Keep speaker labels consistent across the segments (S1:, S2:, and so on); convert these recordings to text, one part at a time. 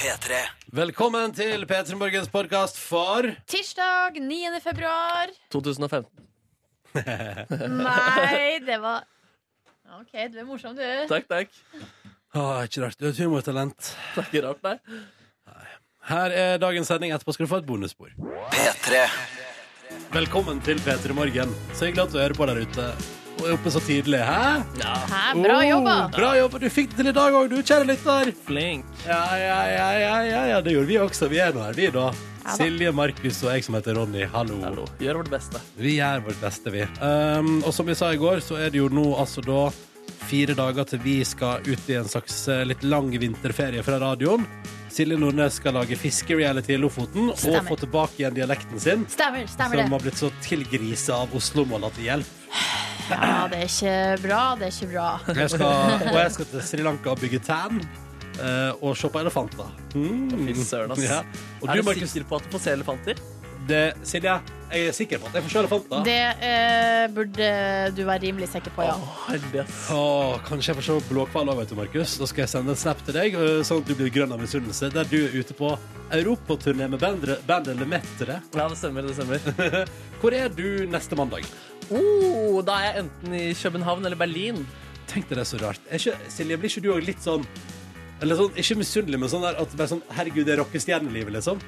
S1: P3.
S2: Velkommen til P3 Morgens podkast for
S3: Tirsdag 9. februar.
S4: 2015.
S3: Nei, det var OK, du er morsom, du.
S4: Takk, takk.
S2: Åh, Ikke rart, du er et humortalent.
S4: Det er ikke rart, nei.
S2: Her er dagens sending. Etterpå skal du få et bonusspor.
S1: P3.
S2: Velkommen til P3 Morgen. Så hyggelig at du hører på der ute. Og er oppe så tidlig. Hæ?
S3: Hæ, bra
S2: Oh,
S3: jobba.
S2: Bra jobba. Du fikk det til i dag òg, du, kjære lytter.
S4: Flink.
S2: Ja, ja, ja, ja, ja, ja, det gjorde vi også. Vi er nå her, vi, da.
S3: da.
S2: Silje, Markus og jeg som heter Ronny. Hallo.
S4: Hallo. Gjør vårt beste.
S2: Vi gjør vårt beste, vi. Um, og som vi sa i går, så er det jo nå altså da fire dager til vi skal ut i en slags eh, litt lang vinterferie fra radioen. Silje Nordnes skal lage fiskereality i Lofoten og
S3: Stemmer.
S2: få tilbake igjen dialekten sin.
S3: Stemmer, stemmer
S2: Som
S3: det.
S2: har blitt så tilgrisa av Oslo-måla til hjelp.
S3: Ja, det er ikke bra, det er ikke bra.
S2: Jeg skal, og jeg skal til Sri Lanka og bygge tan eh, og se på elefanter. Mm.
S4: Fy søren, ass.
S2: Ja. Og
S4: er
S2: du,
S4: du
S2: Markus,
S4: sikker på at du får se elefanter?
S2: det, Silje, jeg er sikker på at jeg får se elefanter.
S3: Det eh, burde du være rimelig sikker på, ja.
S4: Å, heldig, ass.
S2: Åh, Ah, kanskje jeg får se blåhval òg, vet du, Markus. Da skal jeg sende en snap til deg, øh, sånn at du blir grønn av misunnelse, der du er ute på europaturné med bandet band Lemettere.
S4: Ja, det stemmer, det stemmer.
S2: Hvor er du neste mandag?
S4: Oh, da er jeg enten i København eller Berlin.
S2: Tenk deg det er så rart. Er ikke, Silje, blir ikke du òg litt sånn eller sånn, Ikke misunnelig, men sånn der at bare sånn, herregud, det er rockestjernelivet, liksom.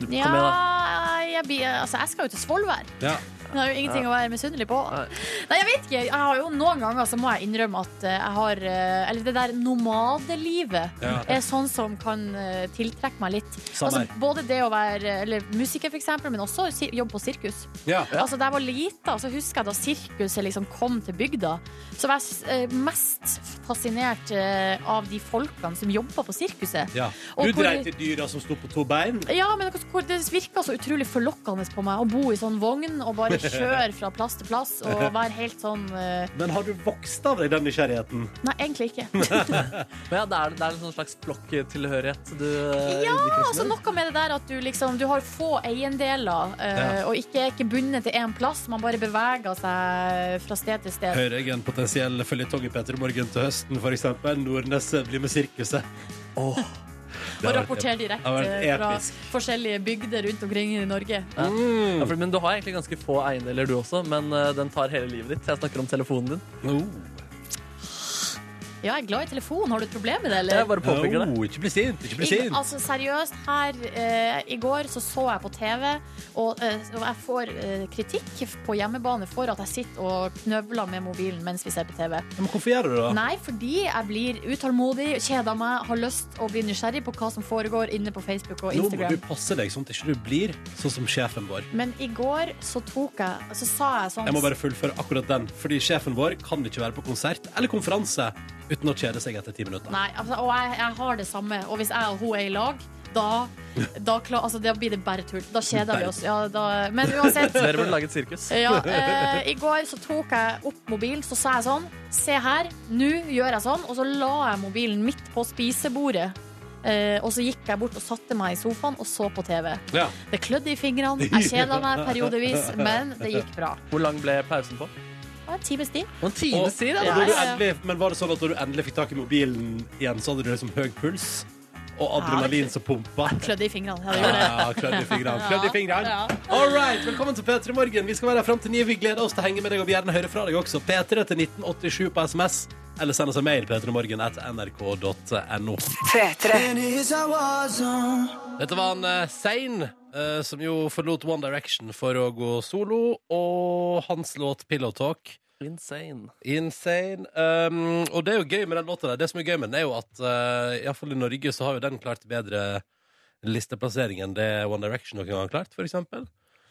S3: Ja,
S4: igjen,
S3: jeg, blir- altså, jeg skal jo til Svolvær.
S2: Ja.
S3: Det er jo ingenting å være misunnelig på.
S4: Nei.
S3: Nei, jeg vet ikke. Jeg har jo Noen ganger så må jeg innrømme at eh, jeg har eh, Eller det der nomadelivet
S2: Ja.
S3: er sånn som kan eh, tiltrekke meg litt.
S2: Samme her.
S3: Altså, både det å være eller, musiker, for eksempel, men også si- jobbe på sirkus.
S2: Ja.
S3: Altså, da jeg var lita, så husker jeg da sirkuset liksom kom til bygda. Så var jeg s- eh, mest fascinert eh, av de folkene som jobba på sirkuset.
S2: ja.
S3: Og
S2: Du
S3: hvor-
S2: dreit i dyra som sto på to bein.
S3: Ja, men det, hvor- det virka så utrolig forlokkende på meg å bo i sånn vogn og bare kjøre fra plass til plass og være helt sånn eh,
S2: Men har du vokst av deg den nysgjerrigheten?
S3: Nei, egentlig ikke.
S4: Men ja, det er, det er en sånn slags flokktilhørighet du
S3: Ja, Altså
S4: altså
S3: Noe med det der at du liksom Du har få eiendeler eh, og ikke er ikke bundet til én plass. Man bare beveger seg fra sted til sted.
S2: Hører jeg en potensiell føljetong i Petter Morgen til høsten, for eksempel? Nordnes blir med sirkuset.
S3: Og
S2: har vært
S3: rapportere
S2: det har vært
S3: direkte fra
S2: episk. Mm.
S3: forskjellige bygder rundt omkring i Norge.
S4: ja, for, Men du har egentlig ganske få eiendeler, du også, men eh, den tar hele livet ditt. Jeg snakker om telefonen din.
S3: Ja, jeg er glad i telefon. Har du et problem med det,
S4: Jeg
S3: eller?
S4: bare påpeker det.
S2: Oh, ikke bli sint! Ikke bli
S3: Ingen-
S2: sint!
S3: altså Seriøst, her eh, i går så så jeg på TV, og, eh, og jeg får eh, kritikk på hjemmebane for at jeg sitter og knøvler med mobilen mens vi ser på TV.
S2: Men hvorfor gjør du det? da?
S3: Nei, fordi jeg blir utålmodig, kjeder meg, har lyst å bli nysgjerrig på hva som foregår inne på Facebook og
S2: Nå må
S3: Instagram.
S2: du passe deg, sånn at ikke du blir sånn som sjefen vår.
S3: Men i går så tok jeg Så sa jeg sånn
S2: Jeg må bare fullføre akkurat den, fordi sjefen vår kan ikke være på konsert eller konferanse uten å kjede seg etter ti minutter.
S3: Nei, altså, og jeg, jeg har det samme. Og hvis jeg og hun er i lag, da, da, kla- altså, da blir det bare tull. Da kjeder vi oss. Ja, da, men uansett.
S4: Dere burde lage et sirkus.
S3: Ja, eh, I går så tok jeg opp mobilen, så sa jeg sånn Se her, nå gjør jeg sånn. Og så la jeg mobilen midt på spisebordet. Eh, og så gikk jeg bort og satte meg i sofaen og så på TV.
S2: Ja.
S3: Det klødde i fingrene, jeg kjeda meg periodevis, men det gikk bra.
S4: Hvor lang ble pausen på?
S3: Det var en times tid.
S4: En time siden,
S2: Og
S4: ja.
S2: da du
S3: ja, ja.
S2: endelig, men var det sånn at da du endelig fikk tak i mobilen igjen, så hadde du liksom høy puls og adrenalin som pumpa?
S3: Klødde i fingrene. Ja, det gjorde jeg.
S2: Ja, klødd i fingrene. Klødd i fingrene.
S3: Ja,
S2: All right, velkommen til P3 Morgen. Vi skal være her frem til 9. Vi gleder oss til å henge med deg og vi gjerne høre fra deg også. P3 til 1987 på SMS, eller send oss en mail p3morgen at nrk.no. Dette var en uh, Sein, eh, som jo forlot One Direction for å gå solo, og hans låt Pillow Talk.
S4: Insane.
S2: Insane. Um, og det er jo gøy med den låta der. Det som er gøy med den, er jo at uh, iallfall i Norge så har jo den klart bedre listeplassering enn det One Direction noen gang har klart, for eksempel.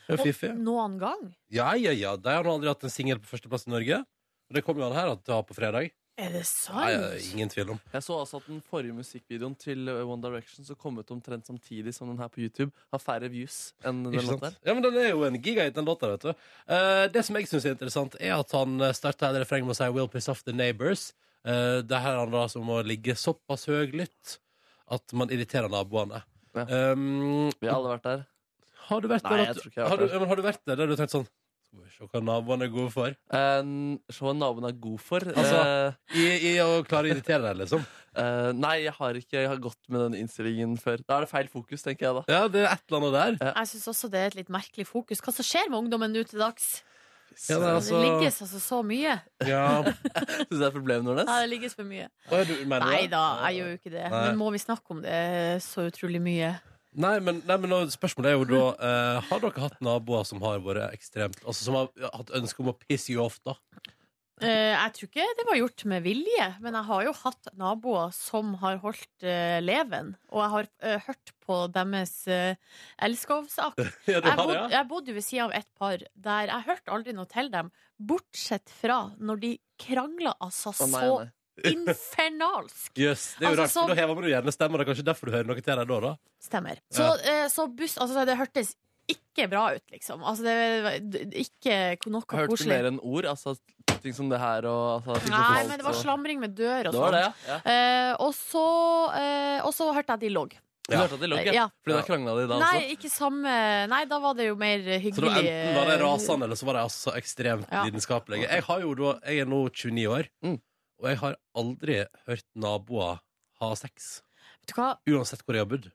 S2: Det er jo fiffig.
S3: Og noen gang.
S2: Ja, ja, ja. De har nå aldri hatt en singel på førsteplass i Norge. Og det kommer jo han her at det har på fredag.
S3: Er det
S2: Nei, ja,
S3: sant?
S2: ingen tvil om.
S4: Jeg så også at den forrige musikkvideoen til eh, One Direction som kom ut omtrent samtidig som den her på YouTube, har færre views enn den
S2: Ikke
S4: låten
S2: sant?
S4: der.
S2: Ja, men Den er jo en gigahit, den låta. vet du Eh, Det som jeg syns er interessant, er at han starta et refreng med å si 'Will piss off the neighbors'. Eh, det her handler altså om å ligge såpass høylytt at man irriterer naboene.
S4: Ja.
S2: Um,
S4: Vi har alle vært der.
S2: har du vært
S4: Nei,
S2: der
S4: jeg
S2: at-
S4: tror ikke jeg
S2: har
S4: har
S2: du-
S4: vært der.
S2: ja, men har du vært der der du tenkte sånn Skal vi se hva naboene er gode for?
S4: Eh, Se hva naboen er god for.
S2: Altså- I, i å klare å irritere deg, liksom.
S4: Eh, nei, jeg har ikke jeg har gått med den innstillingen før. Da er det feil fokus, tenker jeg da.
S2: Ja, det er et eller annet der.
S3: Jeg syns også det er et litt merkelig fokus. Hva som skjer med ungdommen nå til dags?
S2: Ja, det er altså-
S3: Det ligges altså så mye.
S2: Ja.
S4: Syns du det er problemet, Nordnes?
S3: Ja, det ligges for mye.
S2: Å, ja, du mener
S3: Nei
S2: det?
S3: da, jeg gjør jo ikke det.
S2: Nei.
S3: Men må vi snakke om det så utrolig mye?
S2: Nei, men, nei, men nå- spørsmålet er jo da eh, Har dere hatt naboer som har vært ekstremt Altså som har hatt ønske om å pisse you off, da?
S3: Eh, jeg tror ikke det var gjort med vilje, men jeg har jo hatt naboer som har holdt eh, leven. Og jeg har eh, hørt på deres uh, elskovsakt.
S2: Ja, du
S3: Jeg,
S2: har det,
S3: bod,
S2: ja?
S3: jeg bodde jo ved sida av et par der jeg hørte aldri noe til dem, bortsett fra når de krangla altså
S4: Å, nei, nei.
S3: så infernalsk.
S2: Jøs, det er jo
S3: Altså,
S2: rart, for
S3: som-
S2: Da hever man jo gjerne stemmer. Det er kanskje derfor du hører noe til deg da? da.
S3: Stemmer. Så, eh, så buss Altså, det hørtes ikke bra ut, liksom. Altså, det var d- ikke noe
S4: Jeg hørte
S3: koselig.
S4: mer enn ord. Altså ting som det her og altså, ting som
S3: Nei,
S4: falt,
S3: men det var
S4: og-
S3: slamring med dør og
S4: Det var
S3: sånn.
S4: det, ja.
S3: Eh, og så eh, Og så hørte jeg at de lå.
S4: Du
S2: Ja.
S4: hørte at de logget?
S3: Ja.
S4: Fordi da krangla de da altså? også?
S3: Nei, ikke samme Nei, da var det jo mer eh, hyggelig. eh,
S2: Så da enten var det rasende, eller så var det altså ekstremt
S3: Ja.
S2: lidenskapelige. Jeg, har jo da, jeg er nå 29 år,
S4: Mm.
S2: og jeg har aldri hørt naboer ha sex.
S3: Vet du hva?
S2: Uansett hvor jeg har bodd.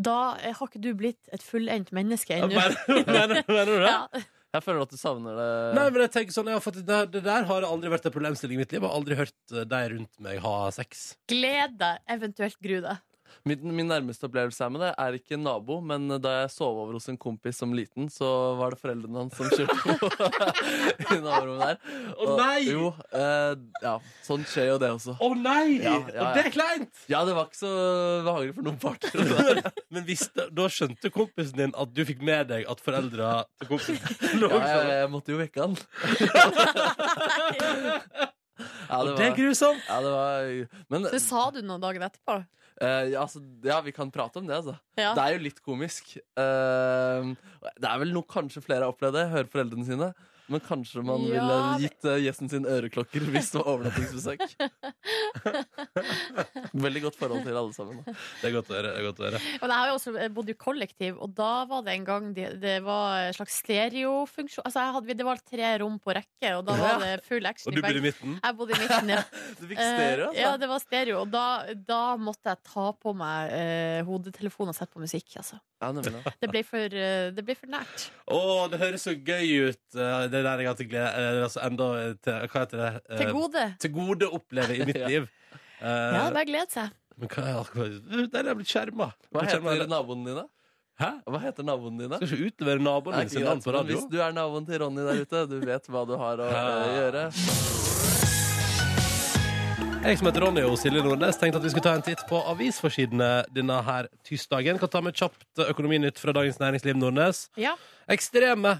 S3: Da eh, har ikke du blitt et fullendt menneske
S2: Ja,
S3: ennå.
S2: men- Mener mener du det?
S3: Ja.
S4: Jeg føler at du savner det.
S2: Nei, men jeg tenker sånn, jeg har fått, det, det der har aldri vært en problemstilling i mitt liv. Jeg har aldri hørt eh, de rundt meg ha sex.
S3: Gled deg, eventuelt gru deg.
S4: Min, min nærmeste opplevelse her med det er ikke en nabo, men da jeg sov over hos en kompis som liten, så var det foreldrene hans som kjørte på i naborommet der.
S2: Å, nei!
S4: Jo, eh, ja, sånn skjer jo det også.
S2: Å nei!
S4: Ja, ja, ja.
S2: Og det er kleint!
S4: Ja, det var ikke så behagelig for noen parter.
S2: Men hvis det, da skjønte kompisen din at du fikk med deg at foreldra til kompisen lå
S4: Ja, jeg,
S2: sammen.
S4: jeg måtte jo vekke han. Ja,
S2: Og
S4: det
S2: det er
S4: var,
S2: grusomt!
S4: ja, det var Men
S3: Så sa du noen dager etterpå.
S4: eh, ja, altså, ja, vi kan prate om det, altså.
S3: Ja.
S4: Det er jo litt komisk. Eh, det er vel noe kanskje flere har opplevd det. Hører foreldrene sine. Men kanskje man
S3: Ja,
S4: ville
S3: men-
S4: gitt eh, gjesten sin øreklokker hvis det var overnattingsbesøk. Veldig godt forhold til alle sammen. Da.
S2: Det er godt å høre. det er godt å høre.
S3: Men jeg har jo også jeg bodde i kollektiv, og da var det en gang de, det var en slags stereofunksjon. Altså, jeg hadde, det var tre rom på rekke, og da var det full action
S2: Og du
S3: i
S2: bor i
S3: begge.
S2: midten?
S3: Jeg bodde i midten, ja.
S4: Du fikk stereo,
S3: Eh, ja,
S4: altså.
S3: det var stereo. Og da, da måtte jeg ta på meg eh, hodetelefonen og sette på musikk. Altså.
S4: Ja, nemlig.
S3: Det, ble for, eh, det ble for nært.
S2: Å, det høres så gøy ut. eh, Det der jeg har til glede eh, altså enda til, Hva heter det? Eh,
S3: Til gode.
S2: til gode å oppleve i mitt
S4: Ja.
S2: liv. Eh,
S3: Ja, det er glede seg.
S2: Men hva er akkurat Der er jeg blitt skjerma.
S4: Hva
S2: Blitt skjermet.
S4: heter naboene dine?
S2: Hæ?
S4: Hva heter naboene dine?
S2: Skal ikke utlevere naboen
S4: Nei,
S2: din
S4: ikke
S2: sin navn
S4: greit,
S2: på
S4: men
S2: radio?
S4: hvis du er naboen til Ronny der ute, du vet hva du har å eh, gjøre.
S2: Jeg som heter Ronny og Silje Nordnes, tenkte at vi skulle ta en titt på avisforsidene denne her tirsdagen. Kan ta med kjapt Økonominytt fra Dagens Næringsliv Nordnes.
S3: Ja.
S2: Ekstreme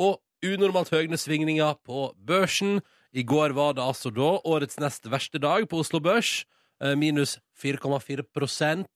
S2: og unormalt høye svingninger på børsen. I går var det altså da årets nest verste dag på Oslo Børs. eh, Minus 4,4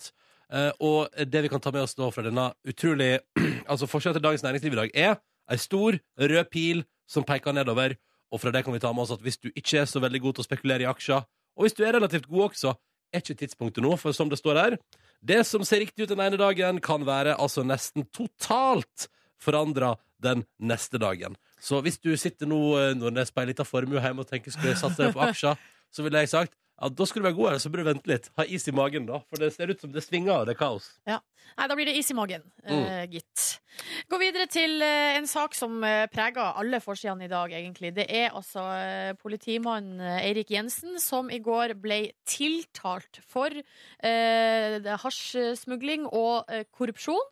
S2: Eh, Og det vi kan ta med oss da fra denne utrolig Altså Forskjellen til Dagens Næringsliv i dag er ei stor, rød pil som peker nedover. Og fra det kan vi ta med oss at hvis du ikke er så veldig god til å spekulere i aksjer, og hvis du er relativt god også, er ikke tidspunktet nå, for som det står her Det som ser riktig ut den ene dagen, kan være altså nesten totalt forandra den neste dagen. Så hvis du sitter nå eh, Nordnes på ei lita formue hjemme og tenker skulle jeg satse på aksjer, så ville jeg sagt ja, da skulle du være god, eller så burde du vente litt. Ha is i magen, da. For det ser ut som det svinger, og det er kaos.
S3: Nei, da blir det is i magen, eh, gitt. Gå videre til eh, en sak som eh, preger alle forsidene i dag, egentlig. Det er altså eh, politimannen eh, Eirik Jensen som i går ble tiltalt for eh, det- hasjsmugling og eh, korrupsjon.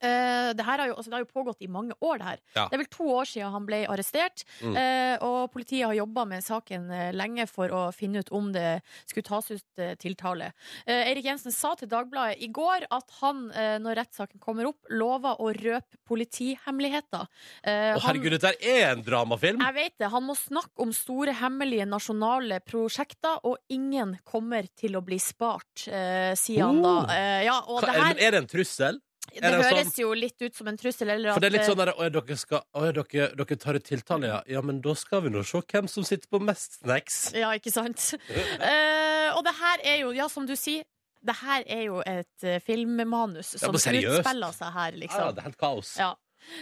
S3: Eh, det, her har jo, altså, det har jo pågått i mange år, det her.
S2: Ja.
S3: Det er vel to år siden han ble arrestert.
S2: Mm.
S3: eh, og politiet har jobba med saken eh, lenge for å finne ut om det skulle tas ut eh, tiltale. Eh, Eirik Jensen sa til Dagbladet i går at han, eh, når rettssaken kommer opp, lover å røpe politihemmeligheter. Eh,
S2: Å,
S3: han-
S2: herregud, dette er en dramafilm!
S3: jeg vet det. Han må snakke om store, hemmelige nasjonale prosjekter, og ingen kommer til å bli spart, eh, sier han da.
S2: Oh.
S3: Eh, ja, og
S2: Hva,
S3: det
S2: er,
S3: her
S2: men er det en trussel?
S3: det,
S2: er det sånn?
S3: høres jo litt ut som en trussel. Eller
S2: For
S3: at,
S2: det er litt
S3: eh,
S2: sånn der, «Å, ja, dere, skal, å, ja, dere, dere tar ut tiltale, ja. Ja, men da skal vi nå se hvem som sitter på mest snacks.
S3: Ja, ikke sant? Eh, og det her er jo, ja, som du sier, det her er jo et eh, filmmanus som
S2: men seriøst?
S3: utspiller seg her,
S2: Ja,
S3: liksom.
S2: Ah, det er helt kaos.
S3: Ja.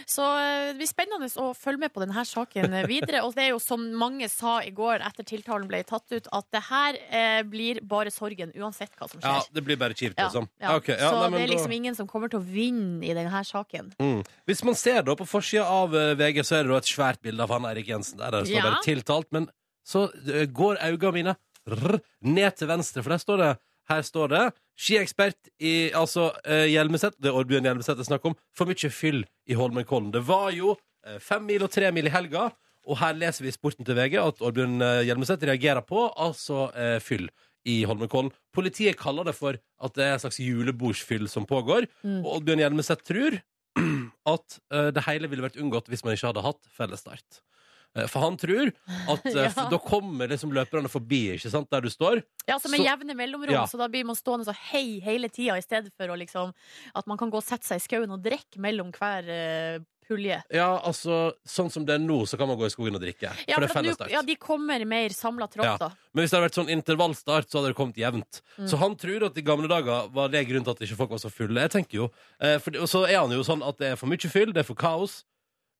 S3: Så eh, det blir spennende å følge med på denne saken eh, videre. Og det er jo som mange sa i går etter tiltalen ble tatt ut, at det her eh, blir bare sorgen uansett hva som
S2: Ja,
S3: skjer.
S2: det blir bare kjipt, liksom.
S3: ja.
S2: Ok, ja,
S3: Så
S2: nei, men
S3: det er
S2: da-
S3: liksom ingen som kommer til å vinne i denne saken.
S2: Mm. Hvis man ser da på forsida av eh, VG, så er det da et svært bilde av han Erik Jensen. Der, der står
S3: Ja.
S2: bare 'tiltalt', men så eh, går øynene mine rrr, ned til venstre, for der står det her står det 'Skiekspert i altså eh, Hjelmeset', det er Oddbjørn Hjelmeset det er snakk om, 'for mye fyll i Holmenkollen'. Det var jo eh, fem mil og tre mil i helga, og her leser vi i Sporten til VG at Oddbjørn eh, Hjelmeset reagerer på altså eh, fyll. I Holmenkollen. Politiet kaller det for at det er en slags julebordsfyll som pågår.
S3: Mm.
S2: Og Oddbjørn Hjelmeset tror at eh, det hele ville vært unngått hvis man ikke hadde hatt fellesstart. Eh, for han tror at eh, f-
S3: Ja.
S2: da kommer liksom løperne forbi, ikke sant, der du står.
S3: Ja, altså med
S2: Så-
S3: jevne mellomrom,
S2: Ja.
S3: så da blir man stående så hei hele tida, i stedet for å liksom At man kan gå og sette seg i skauen og drikke mellom hver eh, pulje.
S2: Ja, altså, sånn som det er nå, så kan man gå i skogen og drikke.
S3: Ja,
S2: for det er
S3: for at nå-
S2: fellesstart.
S3: ja, de kommer mer
S2: Ja.
S3: samla trått, da.
S2: Men hvis det hadde vært sånn intervallstart, så hadde det kommet jevnt.
S3: Mm.
S2: Så han tror at i gamle dager var det grunnen til at ikke folk var så fulle. Jeg tenker jo. Eh, for, og så er han jo sånn at det er for mye fyll, det er for kaos.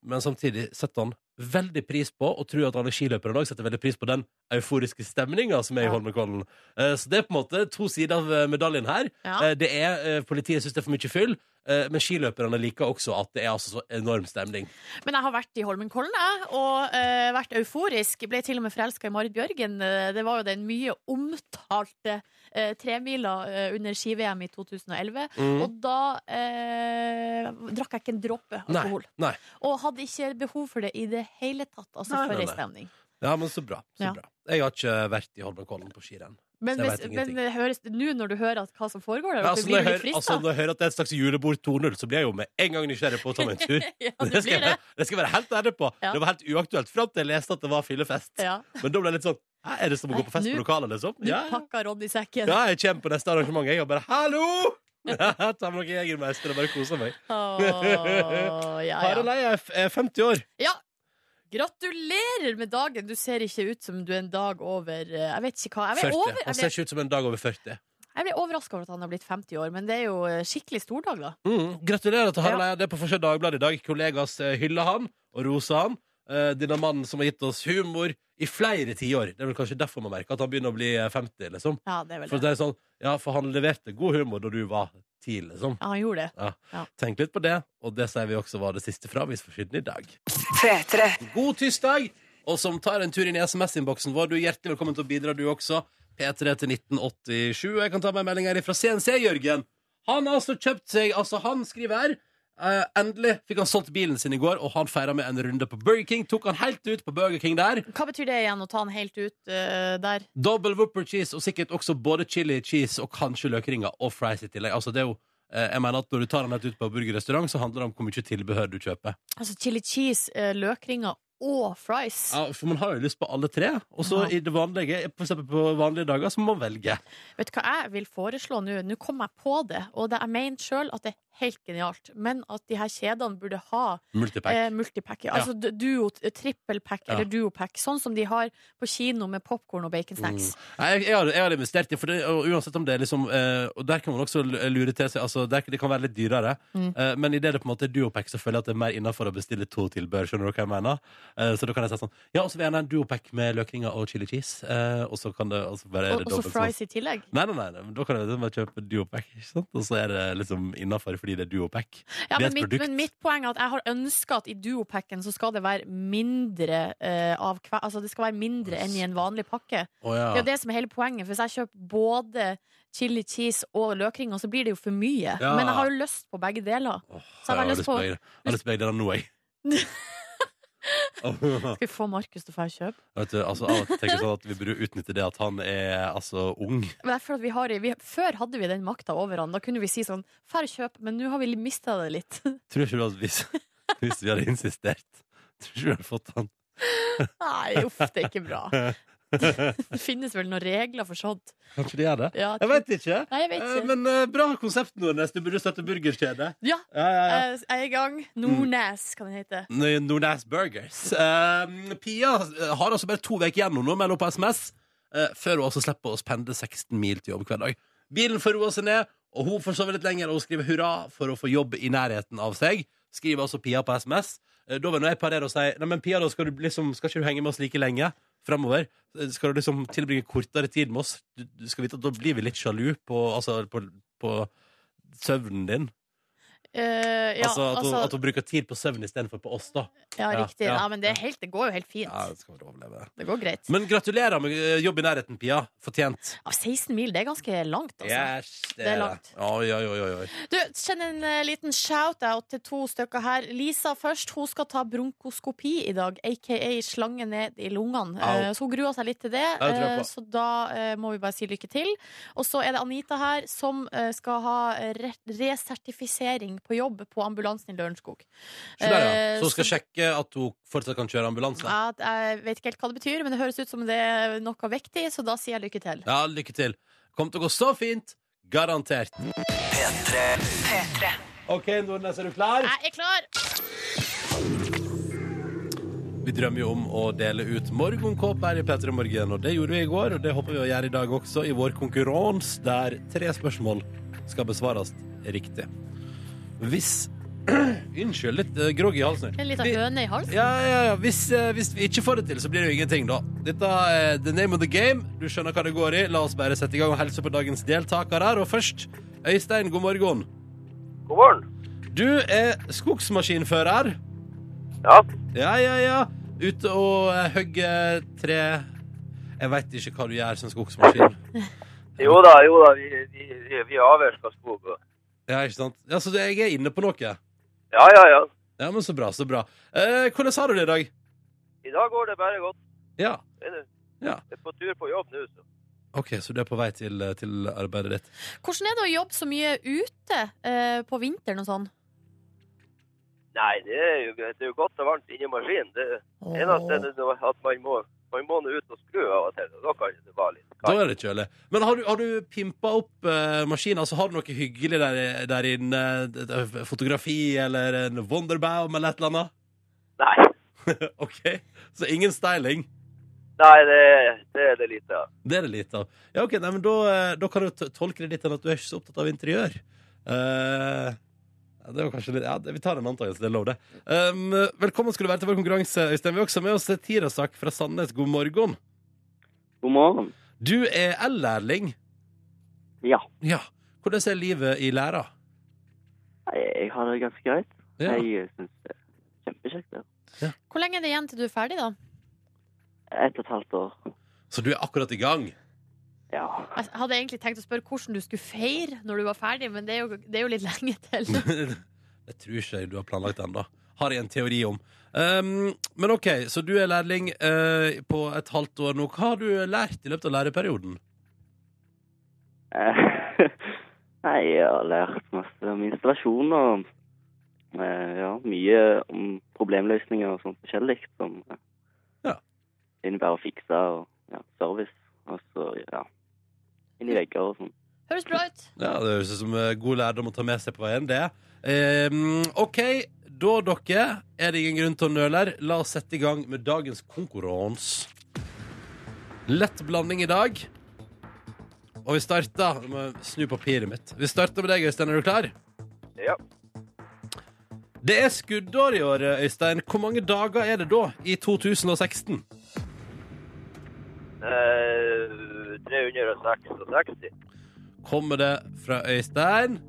S2: Men samtidig setter han veldig pris på, og tror at alle skiløpere òg setter veldig pris på, den euforiske stemninga som er i
S3: Ja.
S2: Holmenkollen. Eh, så det er på en måte to sider av eh, medaljen her.
S3: Ja.
S2: Eh, det er, eh, Politiet syns det er for mye fyll, eh, men skiløperne liker også at det er altså så enorm stemning.
S3: Men jeg har vært i Holmenkollen, jeg, og eh, vært euforisk. Ble til og med forelska i Marit Bjørgen. Eh, Det var jo den mye omtalte eh, tremila eh, under ski-VM i 2011.
S2: Mm.
S3: Og da eh, drakk jeg ikke en dråpe
S2: Nei,
S3: alkohol.
S2: nei.
S3: Og hadde ikke behov for det i det hele tatt. Altså
S2: Nei, nei,
S3: for
S2: nei.
S3: ei stemning.
S2: Ja, men så bra. Så
S3: Ja.
S2: bra. Jeg har ikke vært i Holmenkollen på skirenn.
S3: Men,
S2: Så jeg
S3: hvis,
S2: vet
S3: men
S2: ingenting.
S3: det høres nå når du hører at, hva som foregår der,
S2: Ja,
S3: at
S2: altså,
S3: du
S2: når,
S3: blir
S2: jeg
S3: litt
S2: hører, altså,
S3: frista?
S2: når jeg hører at det er et slags julebord 2.0, så blir jeg jo med en gang nysgjerrig på å ta meg en tur.
S3: ja,
S2: det,
S3: det
S2: skal
S3: blir
S2: jeg,
S3: det.
S2: det skal jeg være helt ærlig på.
S3: Ja.
S2: Det var helt uaktuelt fram til jeg leste at det var fyllefest.
S3: Ja.
S2: Men da ble jeg litt sånn Hæ, Er det som å gå på fest
S3: Nei,
S2: på
S3: nå-
S2: lokalet, liksom?
S3: Du
S2: Ja,
S3: pakker Ronny sekken.
S2: ja jeg kommer på neste arrangement, jeg, og bare Hallo! Ta med noen Jegermeister og bare kose meg.
S3: Åh, ja,
S2: Harald
S3: ja.
S2: Eia er f- er 50 år.
S3: Gratulerer med dagen! Du ser ikke ut som du er en dag over eh, Jeg vet ikke hva. Jeg ble,
S2: 40.
S3: over, jeg
S2: Han ser
S3: ble,
S2: ikke ut som en dag over 40.
S3: jeg ble overraska over at han har blitt 50 år, men det er jo eh, skikkelig stor dag, da.
S2: Mm, gratulerer til Harald
S3: Ja.
S2: Eia. Det er på forskjell Dagbladet i dag. Kollegas eh, hyller han og roser han. Eh, Denne mannen som har gitt oss humor i flere tiår. Det er vel kanskje derfor man merker at han begynner å bli eh, 50, liksom.
S3: Ja, det er vel
S2: For
S3: det.
S2: det er sånn, ja, for han leverte god humor da du var ti, liksom.
S3: Ja, han gjorde det.
S2: Tenk litt på det, og det sier vi også var det siste fra Avisforsiden i dag. God tirsdag! Og som tar en tur inn i SMS-innboksen vår, du er hjertelig velkommen til å bidra, du også. P3 til 1987. Jeg kan ta meg en melding her fra CNC, Jørgen. Han har altså kjøpt seg Altså, han skriver her eh, Endelig fikk han solgt bilen sin i går, og han feira med en runde på Burger King. Tok han helt ut på Burger King der.
S3: Hva betyr det igjen, å ta han helt ut eh, der?
S2: Double whopper cheese, og sikkert også både chili cheese og kanskje løkringer og fries i tillegg. Altså, det er jo, eh, jeg mener at Når du tar den helt ut på burgerrestaurant, så handler det om hvor mye tilbehør du kjøper.
S3: Altså chili cheese, eh, løkringer og fries.
S2: Ja, for man har jo lyst på alle tre, og så
S3: Ja.
S2: i det vanlige, for eksempel på vanlige dager, så må man velge.
S3: Vet du hva jeg vil foreslå nå? Nå kom jeg på det, og det, jeg mener sjøl at det er helt genialt. Men at de her kjedene burde ha
S2: Multipack.
S3: eh, multipack. Ja. Altså du- duo, trippelpack
S2: Ja.
S3: eller duopack. Sånn som de har på kino med popkorn og baconsnacks.
S2: Nei, jeg, jeg, har, jeg har investert i for det, og uansett om det er liksom eh, Og der kan man også l- lure til seg altså, der, Det kan være litt dyrere,
S3: Mm.
S2: eh, men i det det på en måte er duopack, så føler jeg at det er mer innafor å bestille to tilbehør. Skjønner du hva jeg mener? Eh, så da kan jeg si sånn Ja, og så vil jeg gjerne ha en duopack med løkringer og chili cheese. Eh, og så kan det og så bare er
S3: Og,
S2: det
S3: og så
S2: dobbelt sånn.
S3: fries i tillegg.
S2: Nei, nei, nei, nei, men da kan jeg liksom bare kjøpe duopack, ikke sant? og så er det liksom innafor fordi det er duopack. Det
S3: Ja,
S2: er
S3: men,
S2: et
S3: mitt,
S2: produkt.
S3: men mitt poeng er at jeg har ønska at i duopacken så skal det være mindre eh, av hver Altså det skal være mindre enn i en vanlig pakke.
S2: Å ja.
S3: Det er jo det som er hele poenget. For hvis jeg kjøper både chili cheese og løkringer, så blir det jo for mye.
S2: Ja.
S3: Men jeg har jo lyst på begge deler.
S2: Åh,
S3: Så jeg har lyst på-
S2: Jeg har lyst på begge deler nå, jeg. Åh,
S3: Skal vi få Markus til å få kjøpe?
S2: Vet du, altså, av og til tenker jeg sånn at vi burde utnytte det at han er altså ung.
S3: Men jeg føler at vi har, vi, Før hadde vi den makta over han. Da kunne vi si sånn Færre kjøp, men nå har vi mista det litt.
S2: Tror ikke du at hvis, hvis vi hadde insistert Tror ikke du hadde fått han
S3: Nei, uff, det er ikke bra. Det finnes vel noen regler for sånt.
S2: Kanskje de gjør det?
S3: Ja,
S2: Jeg vet ikke
S3: Nei, jeg vet
S2: Eh,
S3: ikke.
S2: Men eh, bra konsept, Nordnes Du burde støtte burgerkjede
S3: Ja,
S2: ja, ja, ja.
S3: jeg Eh, jeg er i gang. Nordnes, kan den hete.
S2: N- Nordnes Burgers Eh, Pia eh, har altså bare to veker gjennom nå Mellom på sms eh, Før hun altså slipper oss pendle 16 mil til jobb hver dag Bilen får roa seg ned Og hun får sove litt lenger Og hun skriver hurra for å få jobb i nærheten av seg skriver altså Pia på SMS. Eh, Da vil nå jeg parere og si Nei, men Pia, da skal du liksom Skal ikke du henge med oss like lenge fremover? Eh, Skal du liksom tilbringe kortere tid med oss? Du, du skal vite at da blir vi litt sjalu på, altså, på, på søvnen din.
S3: Eh, ja,
S2: altså, at, hun,
S3: altså-
S2: at hun bruker tid på søvn istedenfor på oss, da.
S3: ja,
S2: ja,
S3: riktig.
S2: ja.
S3: Ja, men det, er helt, det går jo helt
S2: Ja,
S3: fint.
S2: det skal vel overleve.
S3: Det går greit.
S2: Men gratulerer med eh, jobb i nærheten, Pia. Fortjent.
S3: Ja, 16 mil, det er ganske langt, altså.
S2: Yes,
S3: Det er langt.
S2: Oi, oi, oi, oi, oi.
S3: Du, Send en eh, liten shout-out til to stykker her. Lisa først. Hun skal ta bronkoskopi i dag, aka slange ned i lungene.
S2: Au.
S3: Eh, Så hun gruer seg litt til det,
S2: Ja, det tror jeg
S3: eh,
S2: på.
S3: så da eh, må vi bare si lykke til. Og så er det Anita her, som eh, skal ha re resertifisering på jobb på ambulansen i Lørenskog.
S2: Så der, ja.
S3: Eh,
S2: Så hun skal sjekke at hun fortsatt kan kjøre ambulanse.
S3: Ja, jeg vet ikke helt hva det betyr, men det høres ut som det er noe viktig, så da sier jeg lykke til.
S2: Ja, lykke til. Kommer til å gå så fint. Garantert. OK, Nordnes, er du klar?
S3: Jeg er klar!
S2: Vi drømmer jo om å dele ut morgenkåp her i P3 Morgen, og det gjorde vi i går, og det håper vi å gjøre i dag også, i vår konkurranse, der tre spørsmål skal besvares riktig. Hvis Unnskyld, litt eh, groggy i halsen.
S3: En liten
S2: Vi-
S3: høne i halsen.
S2: Ja, ja, ja. Hvis, eh, hvis vi ikke får det til, så blir det jo ingenting, da. Dette er the name of the game. Du skjønner hva det går i. La oss bare sette i gang og helse på dagens deltakere. her. Og først, Øystein, god morgen.
S1: God morgen.
S2: Du er skogsmaskinfører.
S1: Ja,
S2: Ja, ja, ja. Ute og eh, hogger tre Jeg veit ikke hva du gjør som skogsmaskin.
S1: jo da, jo da, vi, vi, vi, vi avvirker skog. og-
S2: Ja, ikke sant? Ja, Så jeg er inne på noe.
S1: Ja, ja, ja.
S2: Ja, men så bra, så bra. Eh, hvordan har du det i dag?
S1: I dag går det bare godt.
S2: Ja.
S1: Det er det.
S2: Ja.
S1: Jeg er på tur på jobb nå, så.
S2: OK, så du er på vei til, eh, til arbeidet ditt.
S3: Hvordan er det å jobbe så mye ute eh, på vinteren og sånn?
S1: Nei, det er jo, det er jo godt og varmt inni maskinen. Det eneste er nå at man må, man må nå ut og skru av og til. og Da kan det være litt
S2: Da
S1: kaldt.
S2: er det kjølig. Men har du, har du pimpa opp eh, maskinen? Altså, har du noe hyggelig der, der inne? D- d- Fotografi eller en Wonderbaum eller et eller annet?
S1: Nei,
S2: OK? Så ingen styling.
S1: nei det, det er det lite av.
S2: Det er det lite av. Ja, OK, nei, men da, eh, da kan du t- tolke det litt enn at du er ikke så opptatt av interiør. Eh, ja, det var kanskje litt Ja, det, vi tar en antakelse. Det er lov, det. Um, velkommen skal du være til vår konkurranse, Øystein. Vi har også med oss Tirasak fra Sandnes. God morgen.
S5: God morgen.
S2: Du er L-lærling.
S5: Ja,
S2: Ja. Hvordan er livet i læra?
S5: jeg har det ganske greit.
S2: Ja.
S5: Jeg syns det er kjempekjekt. det.
S3: Hvor lenge er det igjen til du er ferdig, da?
S5: Ett og et halvt år.
S2: Så du er akkurat i gang?
S5: Ja.
S3: Jeg hadde egentlig tenkt å spørre hvordan du skulle feire når du var ferdig, men det er jo, det er jo litt lenge til.
S2: Det tror ikke jeg du har planlagt ennå. Har jeg en teori om. Um, men OK, så du er lærling eh, på et halvt år nå. Hva har du lært i løpet av læreperioden?
S5: Eh, Nei, jeg har lært masse om installasjon og eh, ja, mye om problemløsninger og sånn forskjellig som eh,
S2: Ja.
S5: innebærer å fikse og ja, service. Og så, ja, inn i vegger og sånn.
S3: Høres bra ut.
S2: Ja, Det høres ut som eh, god lærdom å ta med seg på veien, det. Um, OK, da, dere, er det ingen grunn til å nøle her. La oss sette i gang med dagens konkurranse. Lett blanding i dag. Og vi starter Jeg må Snu papiret mitt. Vi starter med deg, Øystein. Er du klar?
S1: Ja.
S2: Det er skuddår i år, Øystein. Hvor mange dager er det da i 2016?
S1: Eh, 366.
S2: Kommer det fra Øystein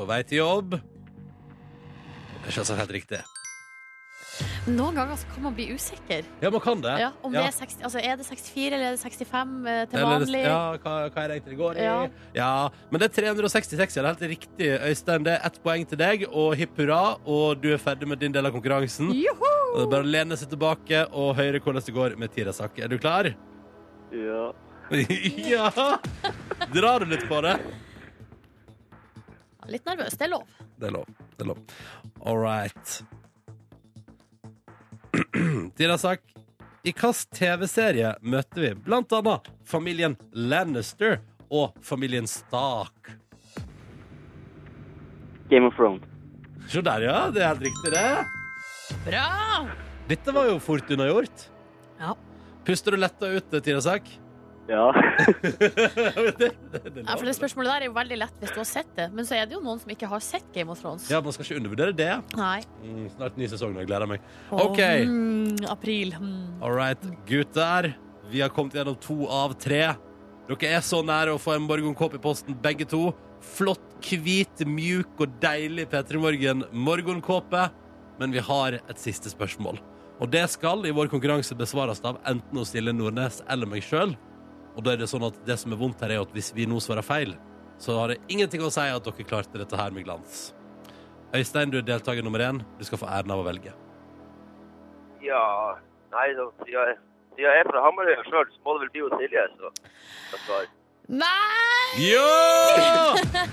S2: på vei til jobb? Det er selvsagt helt riktig.
S3: Noen ganger så kan man bli usikker.
S2: Ja, man kan det.
S3: Ja, om det
S2: Ja.
S3: er, 60, altså, er det 64 eller er det 65 eh, til
S2: Eller-
S3: vanlig?
S2: Ja, hva, hva jeg regnet i går. Ja.
S3: Ja.
S2: Men det er 366, ja. Det er helt riktig, Øystein. Det er ett poeng til deg, og hipp hurra, og du er ferdig med din del av konkurransen.
S3: Joho!
S2: Og det er bare å lene seg tilbake og høre hvordan det går med Tirasak. Er du klar?
S5: Ja.
S2: ja! Drar du litt på det?
S3: Litt nervøs, det er lov.
S2: Det er lov. Det er lov. All right. Tirasak, i hvilken TV-serie møter vi blant annet familien Lannister og familien Stark?
S5: Game of Thrones.
S2: Se der, ja. Det er helt riktig, det.
S3: Bra!
S2: Dette var jo fort unnagjort.
S3: Ja.
S2: Puster du letta ut, Tirasak?
S5: Ja.
S2: det, det er
S3: Ja, for
S2: lov.
S3: det spørsmålet der er jo veldig lett hvis du har sett det. Men så er det jo noen som ikke har sett Game of Thrones.
S2: ja, man skal ikke undervurdere det.
S3: Nei.
S2: Mm, snart ny sesong, og jeg gleder meg.
S3: Åh,
S2: OK.
S3: mm, april. Mm.
S2: All right, gutter. Vi har kommet gjennom to av tre. Dere er så nære å få en morgenkopp i posten, begge to. Flott, hvit, mjuk og deilig P3 Morgen-morgenkåpe. Men vi har et siste spørsmål. Og det skal i vår konkurranse besvares av enten å stille Nordnes eller meg sjøl. Og da er det sånn at det som er vondt her, er at hvis vi nå svarer feil, så har det ingenting å si at dere klarte dette her med glans. Øystein, du er deltaker nummer én. Du skal få æren av å velge.
S1: Ja, nei, så, siden jeg, siden jeg er fra Hamarøy sjøl, så må det vel bli hos Silje. Så. så svar.
S3: Nei!
S2: Ja!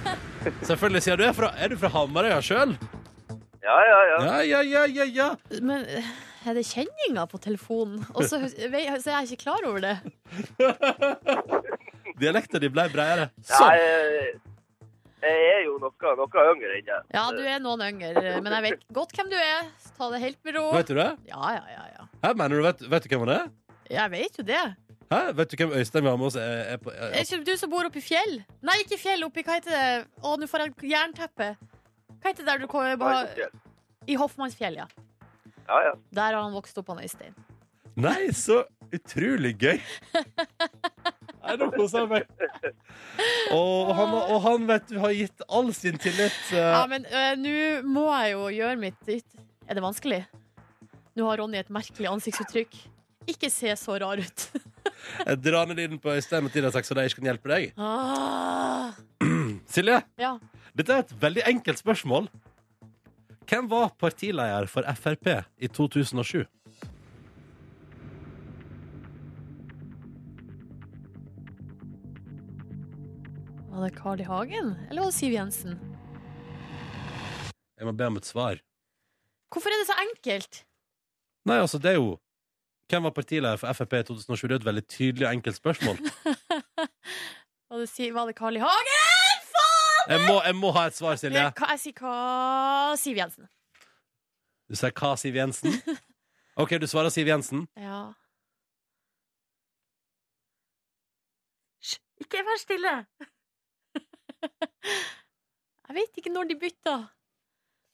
S2: Selvfølgelig sier du er fra, er du fra Hamarøya sjøl?
S1: Ja, ja, ja.
S2: Ja, ja, ja, ja, ja.
S3: Men eh, er det kjenninga på telefonen? Og så så er jeg ikke klar over det.
S2: Dialekta di ble bredere.
S1: Nei,
S2: Sånn.
S1: jeg, jeg er jo noe, noe yngre enn jeg.
S3: Ja, du er noen yngre, men jeg vet godt hvem du er. Så Ta det helt med ro.
S2: Vet du det?
S3: Ja, ja, ja. ja.
S2: Hæ, mener du, vet, vet du hvem han er?
S3: Jeg vet jo det.
S2: Hæ? Vet du hvem Øystein Vamos er, er på
S3: Er
S2: er,
S3: ikke det du som bor oppi fjell? Nei, ikke fjell. Oppi hva heter det? Å, nå får jeg jernteppe. Hva heter det der du kommer
S1: Nei,
S3: I Hoffmannsfjell, ja.
S1: Ja, ja.
S3: Der har han vokst opp, han Øystein.
S2: Nei, så utrolig gøy! Nei, nå koser jeg meg. Og, og, han, og han vet du har gitt all sin tillit.
S3: Ja,
S2: eh,
S3: men eh, nå må jeg jo gjøre mitt yt- Er det vanskelig? Nå har Ronny et merkelig ansiktsuttrykk. Ikke se så rar ut.
S2: Jeg drar ned lyden på Øystein og Tina Saks, så de ikke kan hjelpe deg.
S3: Ah,
S2: Silje?
S3: ja.
S2: Dette er et veldig enkelt spørsmål. Hvem var partileder for Frp i 2007?
S3: Var det Carl I. Hagen, eller var det Siv Jensen?
S2: Jeg må be om et svar.
S3: Hvorfor er det så enkelt?
S2: Nei, altså, det er jo Hvem var partileder for Frp i 2007? Det er et veldig tydelig og enkelt spørsmål.
S3: Var det, Si- var det Carl I. Hagen? Faen!
S2: Jeg må, jeg må ha et svar, Silje.
S3: Jeg, jeg sier hva Siv Jensen.
S2: Du sier hva, Siv Jensen? OK, du svarer Siv Jensen.
S3: Ja. Hysj, ikke vær stille! Jeg vet ikke når de bytta.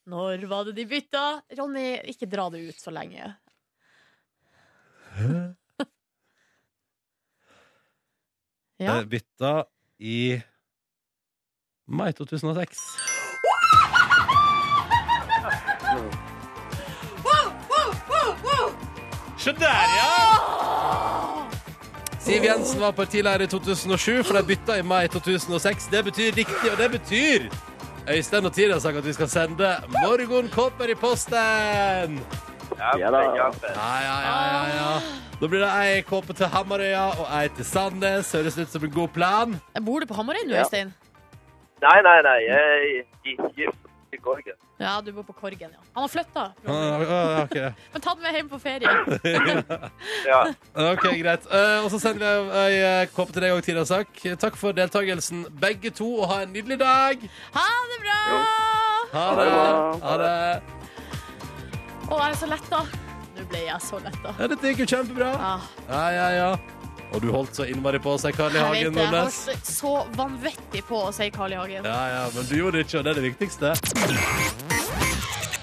S3: Når var det de bytta? Ronny, ikke dra det ut så lenge. Ja.
S2: Eh, Bytta i mai 2006. Se der, ja! Siv Jensen var partileder i 2007, for de bytta i mai 2006. Det betyr riktig, og det betyr Øystein og Tira har sagt at vi skal sende morgenkåper i posten!
S5: Ja da.
S1: Kjempe, kjempe.
S2: Ja, ja, ja, ja, ja. Da blir det ei kåpe til Hamarøya og ei til Sandnes. Høres ut som en god plan.
S3: Bor du på Hamarøy nå,
S5: Ja.
S3: Øystein?
S1: Nei, nei, nei. Jeg er gift i Korgen.
S3: Ja, du bor på Korgen, ja. Han har flytta.
S2: Ah, ah, ok.
S3: Men ta den med hjem på ferie.
S1: Ja.
S2: Ok, greit. Eh, og så sender vi ei eh, kåpe til deg òg, Tira Sak. Takk for deltakelsen, begge to, og ha en nydelig dag.
S3: Ha det bra!
S2: Ha
S5: Ha
S2: det.
S5: det bra.
S2: Ha det.
S3: Å, jeg er så letta. Nå ble jeg så letta.
S2: Ja, dette gikk jo kjempebra.
S3: Ah.
S2: Ja, ja, ja. Og du holdt så innmari på å si Carl I.
S3: Jeg vet
S2: Hagen,
S3: det. Jeg
S2: Nordnes.
S3: holdt så vanvittig på å si Carl I. Hagen.
S2: Ja, ja, men du gjorde det ikke, og det er det viktigste.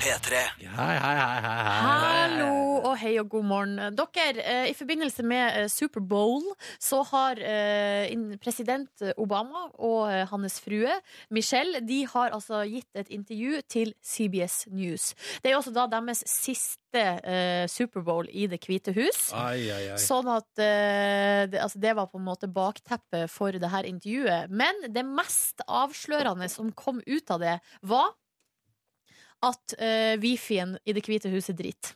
S2: Hei, hei, hei, hei, hei.
S3: Hallo og hei og god morgen. Dere, eh, i forbindelse med eh, Superbowl så har eh, in- president Obama og eh, hans frue Michelle de har altså gitt et intervju til CBS News. Det er jo altså da deres siste eh, Superbowl i Det hvite hus.
S2: Ai, ai, ai.
S3: Sånn at eh, det, altså det var på en måte bakteppet for det her intervjuet. Men det mest avslørende som kom ut av det, var at uh, wifien i Det hvite huset driter.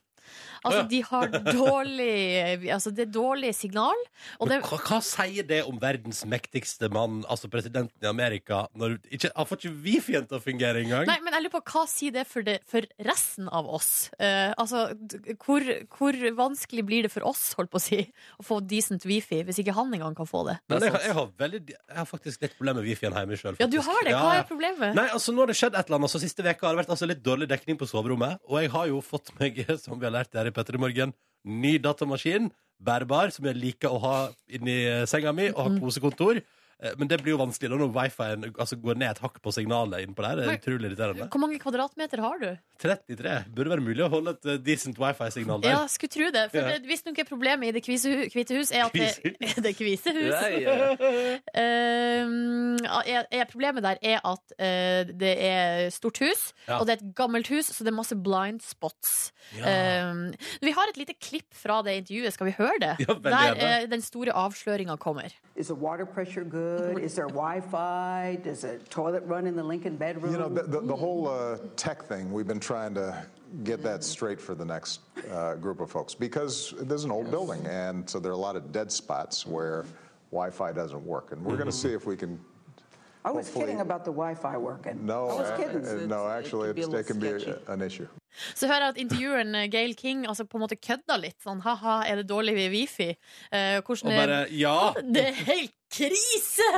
S2: Å
S3: Altså,
S2: ja.
S3: de har dårlig Altså, det er dårlig signal. Og det,
S2: Men hva, hva sier det om verdens mektigste mann, altså presidenten i Amerika, når ikke, han får ikke Wifi-en til å fungere engang?
S3: nei, men jeg lurer på hva sier det for, det, for resten av oss? Eh, altså, d- hvor, hvor vanskelig blir det for oss, holdt på å si, å få decent wifi hvis ikke han engang kan få det?
S2: Men jeg, har-
S4: sant.
S2: jeg, har veldig, jeg har faktisk litt problemer med Wifi-en hjemme sjøl.
S3: Ja, du har det! Hva er problemet?
S2: Nei, altså Nå har det skjedd et eller annet. Så Siste veka har det vært altså, litt dårlig dekning på soverommet. Og jeg har jo fått meg, som vi har lært her i Petter i morgen, ny datamaskin bærbar, som jeg liker å ha inni senga mi, og har
S3: Mm.
S2: kosekontor. Eh, Men det blir jo vanskelig da når wifien altså, går ned et hakk på signalet innpå der. Det er utrolig irriterende.
S3: Hvor mange kvadratmeter har du?
S2: 33. Burde være mulig å holde et eh, decent wifi-signal
S3: Ja,
S2: der.
S3: skulle tro det. For
S2: Ja.
S3: det, Hvis nok er problemet i Det kvise hu- hvite hus, er at det, det kvise hus
S4: Ja, ja.
S3: Ehm, er, er Problemet der er at eh, det er stort hus,
S2: Ja.
S3: og det er et gammelt hus, så det er masse blind spots.
S2: Ja.
S3: Ehm, vi har et lite klipp fra det intervjuet. Skal vi høre det?
S2: Ja, veldig
S3: der
S2: gjerne.
S3: eh, den store avsløringa kommer.
S6: Is the water pressure good? Is there Wi-Fi? Does a toilet run in the Lincoln bedroom?
S7: You know, the, the, the whole uh, tech thing, we've been trying to get that straight for the next uh, group of folks because there's an old building, and so there are a lot of dead spots where Wi Fi doesn't work. And we're going to see if we can.
S6: I was
S7: hopefully-
S6: kidding about the Wi-Fi working.
S7: No,
S6: I was
S7: uh,
S6: kidding.
S7: uh, no, actually, it's, it can be a, an issue.
S3: Så hører jeg at intervjueren eh, Gail King altså på en måte kødda litt. Sånn ha-ha, er det dårlig wifi? Uh,
S2: Og
S3: hvordan er-
S2: bare Ja!
S3: Det er helt krise!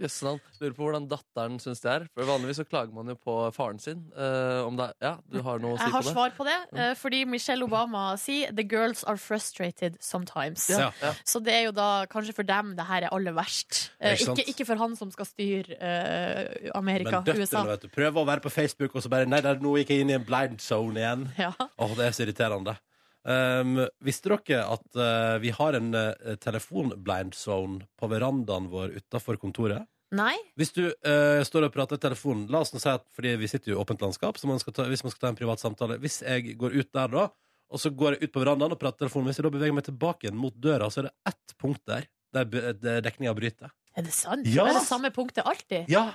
S4: Jøssenavn. Lurer på hvordan datteren syns det er. For Vanligvis så klager man jo på faren sin. eh, om det er, ja, du har noe å si
S3: Jeg har
S4: på det?
S3: svar på det, eh, fordi Michelle Obama sier 'The girls are frustrated sometimes'.
S2: Ja.
S3: Så det er jo da kanskje for dem det her er aller verst. Eh,
S2: Ikke sant?
S3: Ikke, ikke for han som skal styre eh,
S2: Men
S3: Amerika, USA.
S2: døtrene, vet du. Prøver å være på Facebook, og så bare Nei, der, nå gikk jeg inn i en blind zone igjen.
S3: Ja.
S2: Åh, det er så irriterende. Um, visste dere at eh, vi har en eh, telefonblind zone på verandaen vår utafor kontoret?
S3: Nei?
S2: Hvis du eh, står og prater i telefonen La oss nå si at fordi vi sitter jo i åpent landskap, så man skal ta, hvis man skal ta en privat samtale Hvis jeg går ut der, da, og så går jeg ut på verandaen og prater i telefonen Hvis jeg da beveger meg tilbake igjen mot døra, så er det ett punkt der der be- der dekninga bryter.
S3: Er det sant?
S2: Ja.
S3: Det er det samme punktet alltid.
S2: Ja!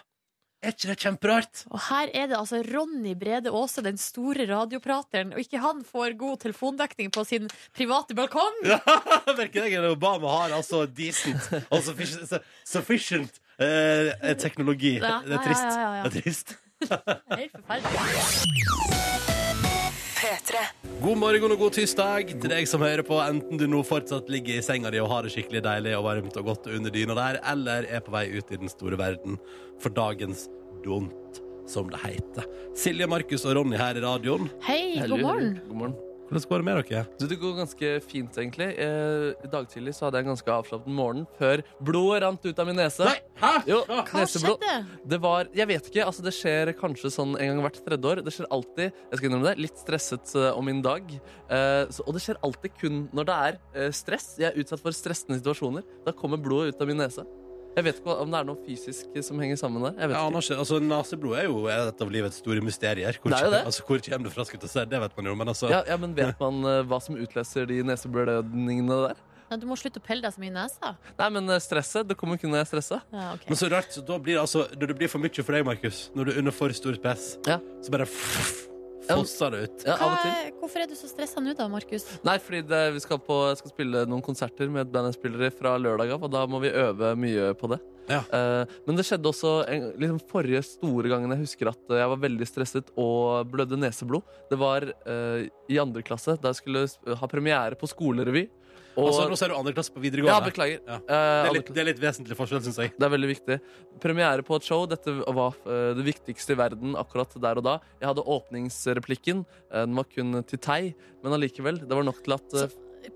S2: Er ikke det kjemperart?
S3: Og her er det altså Ronny Brede Aase, den store radioprateren, og ikke han får god telefondekning på sin private balkong.
S2: Ja, Merker jeg at Obama har altså decent og sufficient, sufficient eh, teknologi.
S3: Ja,
S2: det er trist.
S3: ja, ja, ja, ja.
S2: Det er trist.
S3: Det er Helt forferdelig.
S2: God morgen og god tirsdag til deg som hører på, enten du nå fortsatt ligger i senga di og har det skikkelig deilig og varmt og godt under dyna der, eller er på vei ut i den store verden for dagens dont, som det heter. Silje, Markus og Ronny her i radioen.
S3: Hei, god
S4: Hello.
S3: morgen.
S4: God morgen.
S2: Hvordan går det med dere?
S4: Du, det går ganske fint, egentlig. Eh, I dag tidlig så hadde jeg en ganske avslappet morgen før blodet rant ut av min nese.
S2: Hæ?
S4: Jo,
S3: Hva skjedde?
S4: Det var, jeg vet ikke, altså det skjer kanskje sånn en gang hvert tredje år. Det skjer alltid, jeg skal innrømme det, litt stresset eh, om min dag. Eh, så, og det skjer alltid kun når det er eh, stress. Jeg er utsatt for stressende situasjoner. Da kommer blodet ut av min nese. Jeg vet ikke hva- om det er noe fysisk som henger sammen der. Jeg vet
S2: Jeg
S4: ikke.
S2: aner ikke. Altså, Naseblod er jo et av livets store mysterier. Hvor,
S4: Det er jo det.
S2: Altså, hvor kommer det fra? Skal jeg si? Det vet man jo, men altså
S4: Ja, ja, men vet man eh, hva som utløser de neseblødningene der?
S3: Nei, du må slutte å pelle deg så mye i nesa.
S4: Nei, men eh, stresset, det kommer kun når jeg er stressa.
S3: Ja, ok.
S2: Men så rart, så da blir det altså Når det blir for mye for deg, Markus, når du er under for stort press,
S4: Ja.
S2: så bare fosser det ut.
S4: Ja, av og til.
S3: Hva, hvorfor er du så stressa nå da, Markus?
S4: Nei, fordi det, vi skal, på, jeg skal spille noen konserter med et band jeg spiller i fra lørdag av, og da må vi øve mye på det.
S2: Ja.
S4: Eh, men det skjedde også en, liksom forrige store gangen jeg husker at eh, jeg var veldig stresset og blødde neseblod. Det var eh, i andre klasse, da jeg skulle sp- ha premiere på skolerevy. Og,
S2: Altså, nå ser du andre klasse på
S4: ja,
S2: videregående.
S4: beklager.
S2: Ja.
S4: Eh,
S2: det,
S4: andre
S2: er litt, det er litt vesentlig forskjell, syns jeg.
S4: det er veldig viktig. Premiere på et show. Dette var eh, det viktigste i verden akkurat der og da. Jeg hadde åpningsreplikken. Eh, den var kun til Tei, men allikevel. Det var nok til at eh,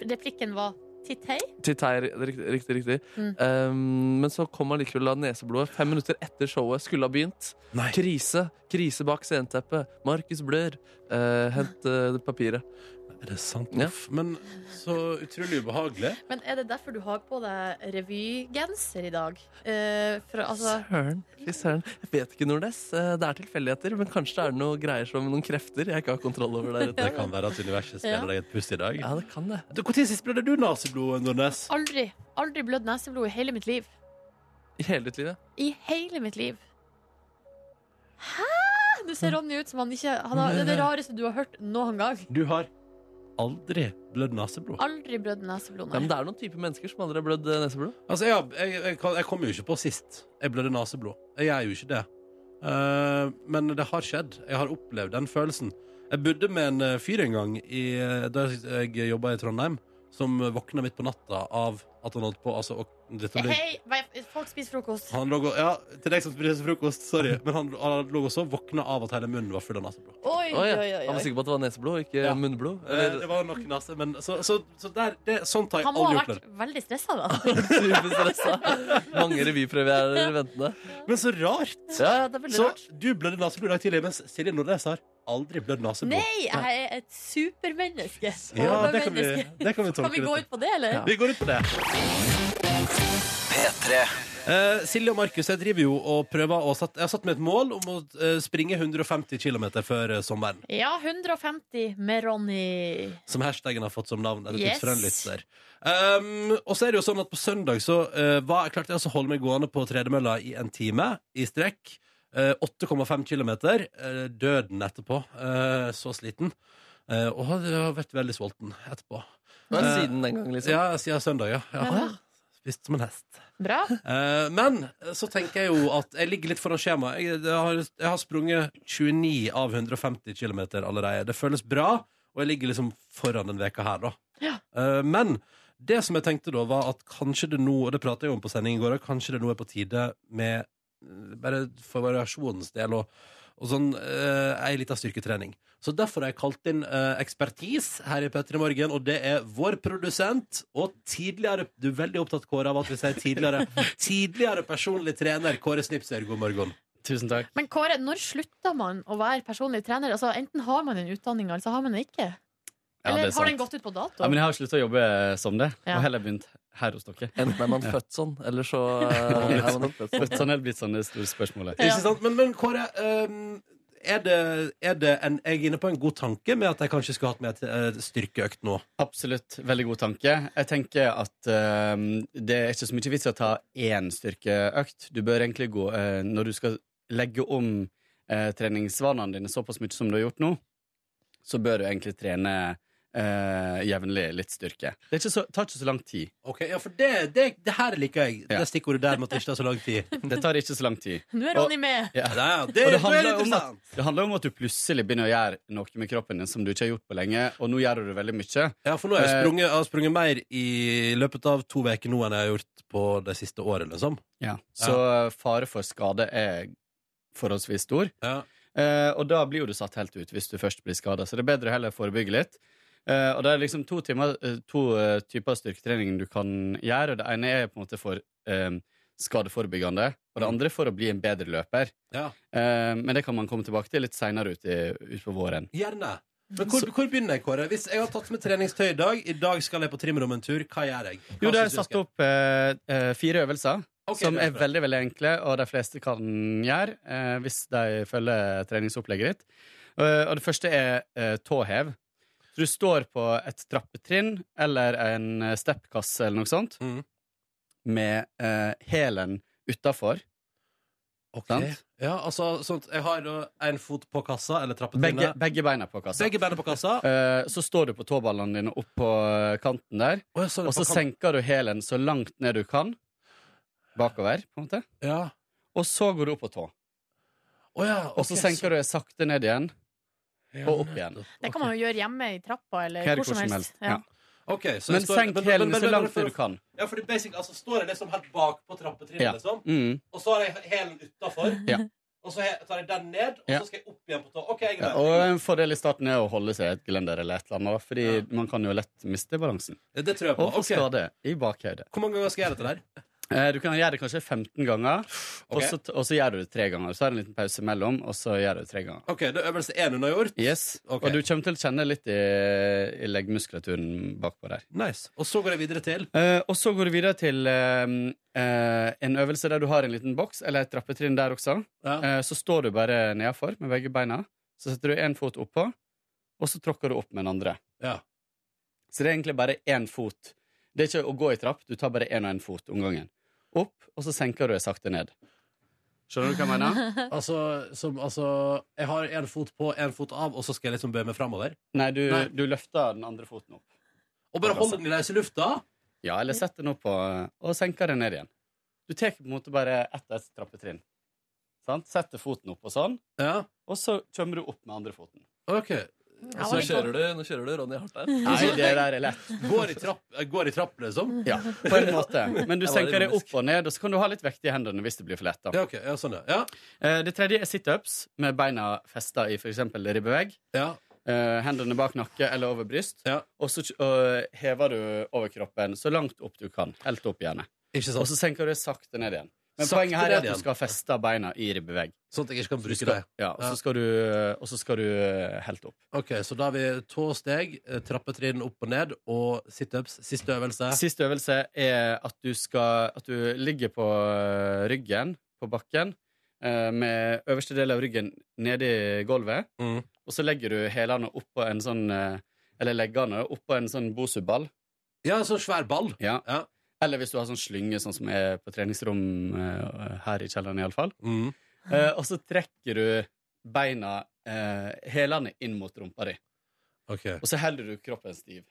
S3: Replikken var tittei.
S4: til Tei, riktig, riktig. riktig.
S3: Mm.
S4: Um, men så kom allikevel av neseblodet fem minutter etter showet skulle ha begynt.
S2: Nei.
S4: Krise. Krise bak sceneteppet. Markus blør. Eh, hent eh, papiret.
S2: Er det sant?
S4: Ja.
S2: Uff, Men så utrolig ubehagelig.
S3: Men er det derfor du har på deg revygenser i dag? Eh, for, altså,
S4: Søren. fy søren. Jeg vet ikke, Nordnes. Eh, det er tilfeldigheter, men kanskje det er noe greier som noen krefter jeg ikke har kontroll over der ute.
S2: Det kan være at universet spiller
S3: Ja.
S2: deg et pust i dag.
S4: Ja, det kan det.
S2: Du, Når sist ble det du naseblod, Nordnes?
S3: aldri aldri blødd neseblod i hele mitt liv.
S4: I hele ditt liv, ja.
S3: I hele mitt liv. Hæ?! Du ser Ronny ut som han ikke han har, Det er det rareste du har hørt noen gang.
S2: Du har aldri blødd naseblod.
S3: Aldri blødd neseblod,
S4: ja. Men
S3: nei.
S4: det er noen typer mennesker som aldri har blødd eh, neseblod.
S2: Altså, jeg, jeg, jeg, kan- jeg kommer jo ikke på sist jeg blødde naseblod. Jeg gjør jo ikke det. Eh, men det har skjedd. Jeg har opplevd den følelsen. Jeg bodde med en eh, fyr en gang i, eh, da jeg jobba i Trondheim, som våkna midt på natta av at han holdt på altså, og, dette blir-
S3: Hei, vei- folk spiser frokost.
S2: han lå og, Ja, til deg som spiser frokost, sorry. Men han, han lå og sov, våkna av at hele munnen var full av naseblod.
S3: Oi,
S4: Oi,
S8: oi, oi,
S4: Jeg var
S8: oi.
S4: sikker på at det var neseblod, ikke
S2: Ja.
S4: munnblod.
S2: Eh,
S4: Eller
S2: Det var nok nasse, men så, så, så der, det, sånt har jeg
S3: Han må
S2: aldri
S3: ha
S2: opplevd.
S3: vært veldig stressa, da.
S4: superstressa. Mange revypremierer ventende.
S2: Men så rart!
S4: Ja, ja, det er veldig
S2: Så
S4: rart.
S2: du blødde naseblod i dag tidlig, mens Silje Nordnes har aldri blødd naseblod.
S8: Nei, jeg er et supermenneske.
S2: Ja, det kan vi, det kan vi tolke
S3: Kan vi gå
S2: dette.
S3: ut på det, eller?
S2: Vi går ut på det. Eh, Silje og Markus, jeg driver jo og prøver å satt, Jeg har satt meg et mål om å eh, springe 150 km før eh, sommeren.
S3: Ja, 150 med Ronny.
S2: Som hashtagen har fått som navn. Eller tips
S3: Yes.
S2: fra en lytter. Um, og så er det jo sånn at på søndag så eh, var, klarte jeg altså å holde meg gående på tredemølla i en time i strekk. Eh, 8,5 km. døden etterpå. Eh, så sliten. Eh, og hadde jeg har vært veldig sulten etterpå.
S4: Det var
S2: Eh,
S4: siden den gang, liksom.
S2: Ja, siden søndag, ja. ja.
S3: Ja.
S2: Spist som en hest.
S3: Bra.
S2: Eh, men eh, så tenker jeg jo at jeg ligger litt foran skjemaet. Jeg, jeg, har- jeg har sprunget 29 av 150 km allerede. Det føles bra, og jeg ligger liksom foran den veka her, da. Eh, men det som jeg tenkte da, var at kanskje det nå, og det pratet jeg om på sending i går, at kanskje det nå er på tide med eh, Bare for variasjonens del og, og sånn uh, ei lita styrketrening. Så derfor har jeg kalt inn eh, ekspertis her i P3 Morgen, og det er vår produsent og tidligere Du er veldig opptatt, Kåre, av at vi sier tidligere Tidligere personlig trener Kåre Snipser, god morgen.
S9: Tusen takk.
S3: Men Kåre, når slutter man å være personlig trener? Altså, enten har man en utdanning, eller så har man den ikke.
S9: Ja,
S3: Eller
S9: det er
S3: har den
S9: sant.
S3: gått ut på dato?
S9: Ja, men jeg har slutta å jobbe eh, som det,
S3: Ja.
S9: og heller begynt her hos dere.
S4: Enten er man født sånn, eller så eh, er man ikke født sånn.
S9: Sånn er det blitt sånn det store spørsmålet.
S3: Ja.
S2: Ikke sant? Men, men Kåre, ehm, er det, er det en, jeg er inne på en god tanke med at jeg kanskje skulle hatt med et eh, styrkeøkt nå?
S9: Absolutt. Veldig god tanke. Jeg tenker at ehm, det er ikke så mye vits i å ta én styrkeøkt. Du bør egentlig gå eh, Når du skal legge om eh, treningsvanene dine såpass mye som du har gjort nå, så bør du egentlig trene eh, jevnlig litt styrke. Det er ikke så, tar ikke så lang tid.
S2: Ok, ja, for det, det, det her liker jeg.
S9: Ja.
S2: Det stikkordet der med at det ikke tar så lang tid.
S9: Det tar ikke så lang tid.
S3: Nå er Ronny med!
S9: Ja.
S2: Ja, det,
S9: Og
S2: det
S9: det
S2: er
S9: handler, om at,
S2: interessant.
S9: det handler om at du plutselig begynner å gjøre noe med kroppen din som du ikke har gjort på lenge, og nå gjør du det veldig mye.
S2: Ja, for nå har jeg
S9: Eh,
S2: sprunget, jeg har sprunget mer i løpet av to uker nå enn jeg har gjort på det siste året, liksom.
S9: Så eh, fare for skade er forholdsvis stor.
S2: Ja.
S9: Eh, og da blir jo du satt helt ut hvis du først blir skada, så det er bedre heller å forebygge litt. Eh, og det er liksom to, timer, eh, to eh, typer styrketrening du kan gjøre. Det ene er på en måte for eh, skadeforebyggende, og det andre for å bli en bedre løper.
S2: Mm. Ja.
S9: Eh, men det kan man komme tilbake til litt seinere utpå våren.
S2: Gjerne. Men hvor, hvor begynner jeg, Kåre? Hvis jeg har tatt med treningstøy i dag, i dag skal jeg på trimrom en tur, hva gjør jeg? Hva
S9: Jo, det er
S2: synes du jeg
S9: satt
S2: skal-
S9: opp eh, eh, fire øvelser
S2: Ok,
S9: som
S2: det
S9: er
S2: bra.
S9: veldig veldig enkle, og de fleste kan gjøre eh, hvis de følger treningsopplegget ditt. Eh, og det første er eh, tåhev. Så du står på et trappetrinn eller en eh, steppkasse eller noe sånt
S2: Mhm.
S9: med eh, hælen utafor.
S2: Ok.
S9: Sant?
S2: Ja, altså, sånn at jeg har da en fot på kassa, eller
S9: Begge,
S2: trappetrinnet.
S9: begge beina på kassa.
S2: Begge beina på kassa.
S9: Eh, så står du på tåballene dine opp på eh, kanten der,
S2: Å, jeg så det på
S9: og så
S2: kant-
S9: senker du hælen så langt ned du kan. Bakover, på en måte.
S2: Ja.
S9: Og så går du opp på tå.
S2: Å ja,
S9: Og så senker du sakte ned igjen, og opp igjen.
S3: Det kan man jo gjøre hjemme i trappa eller
S9: Her,
S3: hvor som helst. Ja.
S2: Ok, så jeg
S9: Men
S2: står- men-
S9: senk
S2: men-
S9: hælen
S2: men-
S9: så
S2: men-
S9: langt
S2: for-
S9: ned du kan.
S2: Ja, fordi basic, altså står jeg liksom helt bak på trappetrinnet,
S9: Ja.
S2: liksom,
S9: Mm.
S2: og så har jeg hælen utafor,
S9: Ja.
S2: og så he- tar jeg den ned, og
S9: Ja.
S2: så skal jeg opp igjen på tå. Ok, jeg er
S9: Ja,
S2: med.
S9: og en fordel i starten er å holde seg i et gelender eller et eller annet, fordi
S2: Ja.
S9: man kan jo lett miste balansen.
S2: Det tror jeg på.
S9: Og få
S2: Ok.
S9: skade i bakhodet.
S2: Hvor mange ganger skal jeg gjøre dette der?
S9: Eh, Du kan gjøre det kanskje 15 ganger, og,
S2: Ok.
S9: så, og så gjør du det tre ganger. Så er det en liten pause mellom, og så gjør du det tre ganger.
S2: Ok, det er øvelse én hun har gjort.
S9: Yes,
S2: Ok.
S9: Og du kommer til å kjenne litt i, i leggmuskulaturen bakpå der.
S2: Nice. Og så går jeg videre til.
S9: Eh, og så går du videre til eh, eh, en øvelse der du har en liten boks, eller et trappetrinn der også.
S2: Ja.
S9: Eh, Så står du bare nedafor med begge beina. Så setter du én fot oppå, og så tråkker du opp med den andre.
S2: Ja.
S9: Så det er egentlig bare én fot. Det er ikke å gå i trapp, du tar bare én og én fot om gangen. Opp, og så senker du deg sakte ned. Skjønner du hva jeg mener?
S2: Altså, som, altså Jeg har én fot på, én fot av, og så skal jeg liksom bøye meg framover?
S9: Nei, du,
S2: Nei.
S9: du løfter den andre foten opp.
S2: Og bare
S9: altså.
S2: holde den i løse lufta?
S9: Ja, eller setter den opp og, og senker den ned igjen. Du tar på en måte bare ett og ett trappetrinn. Sant? Setter foten opp og sånn,
S2: Ja.
S9: og så kommer du opp med andre foten.
S2: OK.
S3: Ja,
S4: Og
S3: var
S4: så
S3: litt
S4: kjører du, nå kjører du Ronny hardt der.
S9: Nei, det der er lett.
S2: Går i trapp, eh, går i trapp liksom?
S9: Ja, på en måte. Men du
S4: Jeg var
S9: senker det
S4: ironisk.
S9: opp og ned, og så kan du ha litt vekt i hendene hvis det blir for lett. da.
S2: Ja, ok. Ja, sånn, ja. ja.
S9: Eh, Det tredje er situps med beina festa i f.eks. ribbevegg.
S2: ja.
S9: eh, Hendene bak nakke eller over bryst.
S2: Ja.
S9: Og så eh, hever du overkroppen så langt opp du kan. Helt opp gjerne.
S2: Ikke
S9: Og
S2: sant?
S9: så senker du det sakte ned igjen. Men
S2: Sakte
S9: poenget her er
S2: ned
S9: at du
S2: igjen.
S9: skal feste beina i ribbevegg.
S2: Sånn at jeg ikke kan
S9: Så du
S2: bruke
S9: skal-
S2: deg.
S9: Ja, og,
S2: Ja.
S9: så skal du- og så skal du eh, helt opp.
S2: Ok, så da har vi tå steg, eh, trappetrinn opp og ned, og situps. Siste øvelse.
S9: Siste øvelse er at du, skal, at du ligger på eh, ryggen på bakken eh, med øverste del av ryggen nedi gulvet,
S2: Mm.
S9: og så legger du hælene oppå en sånn eh, Eller leggene oppå en sånn bosuball.
S2: Ja, en sånn svær ball.
S9: Ja.
S2: Ja.
S9: Eller hvis du har sånn slynge, sånn som er på treningsrom eh, her i kjelleren, iallfall.
S2: Mm.
S9: Eh, og så trekker du beina, eh, hælene, inn mot rumpa di.
S2: Ok.
S9: Og så holder du kroppen stiv.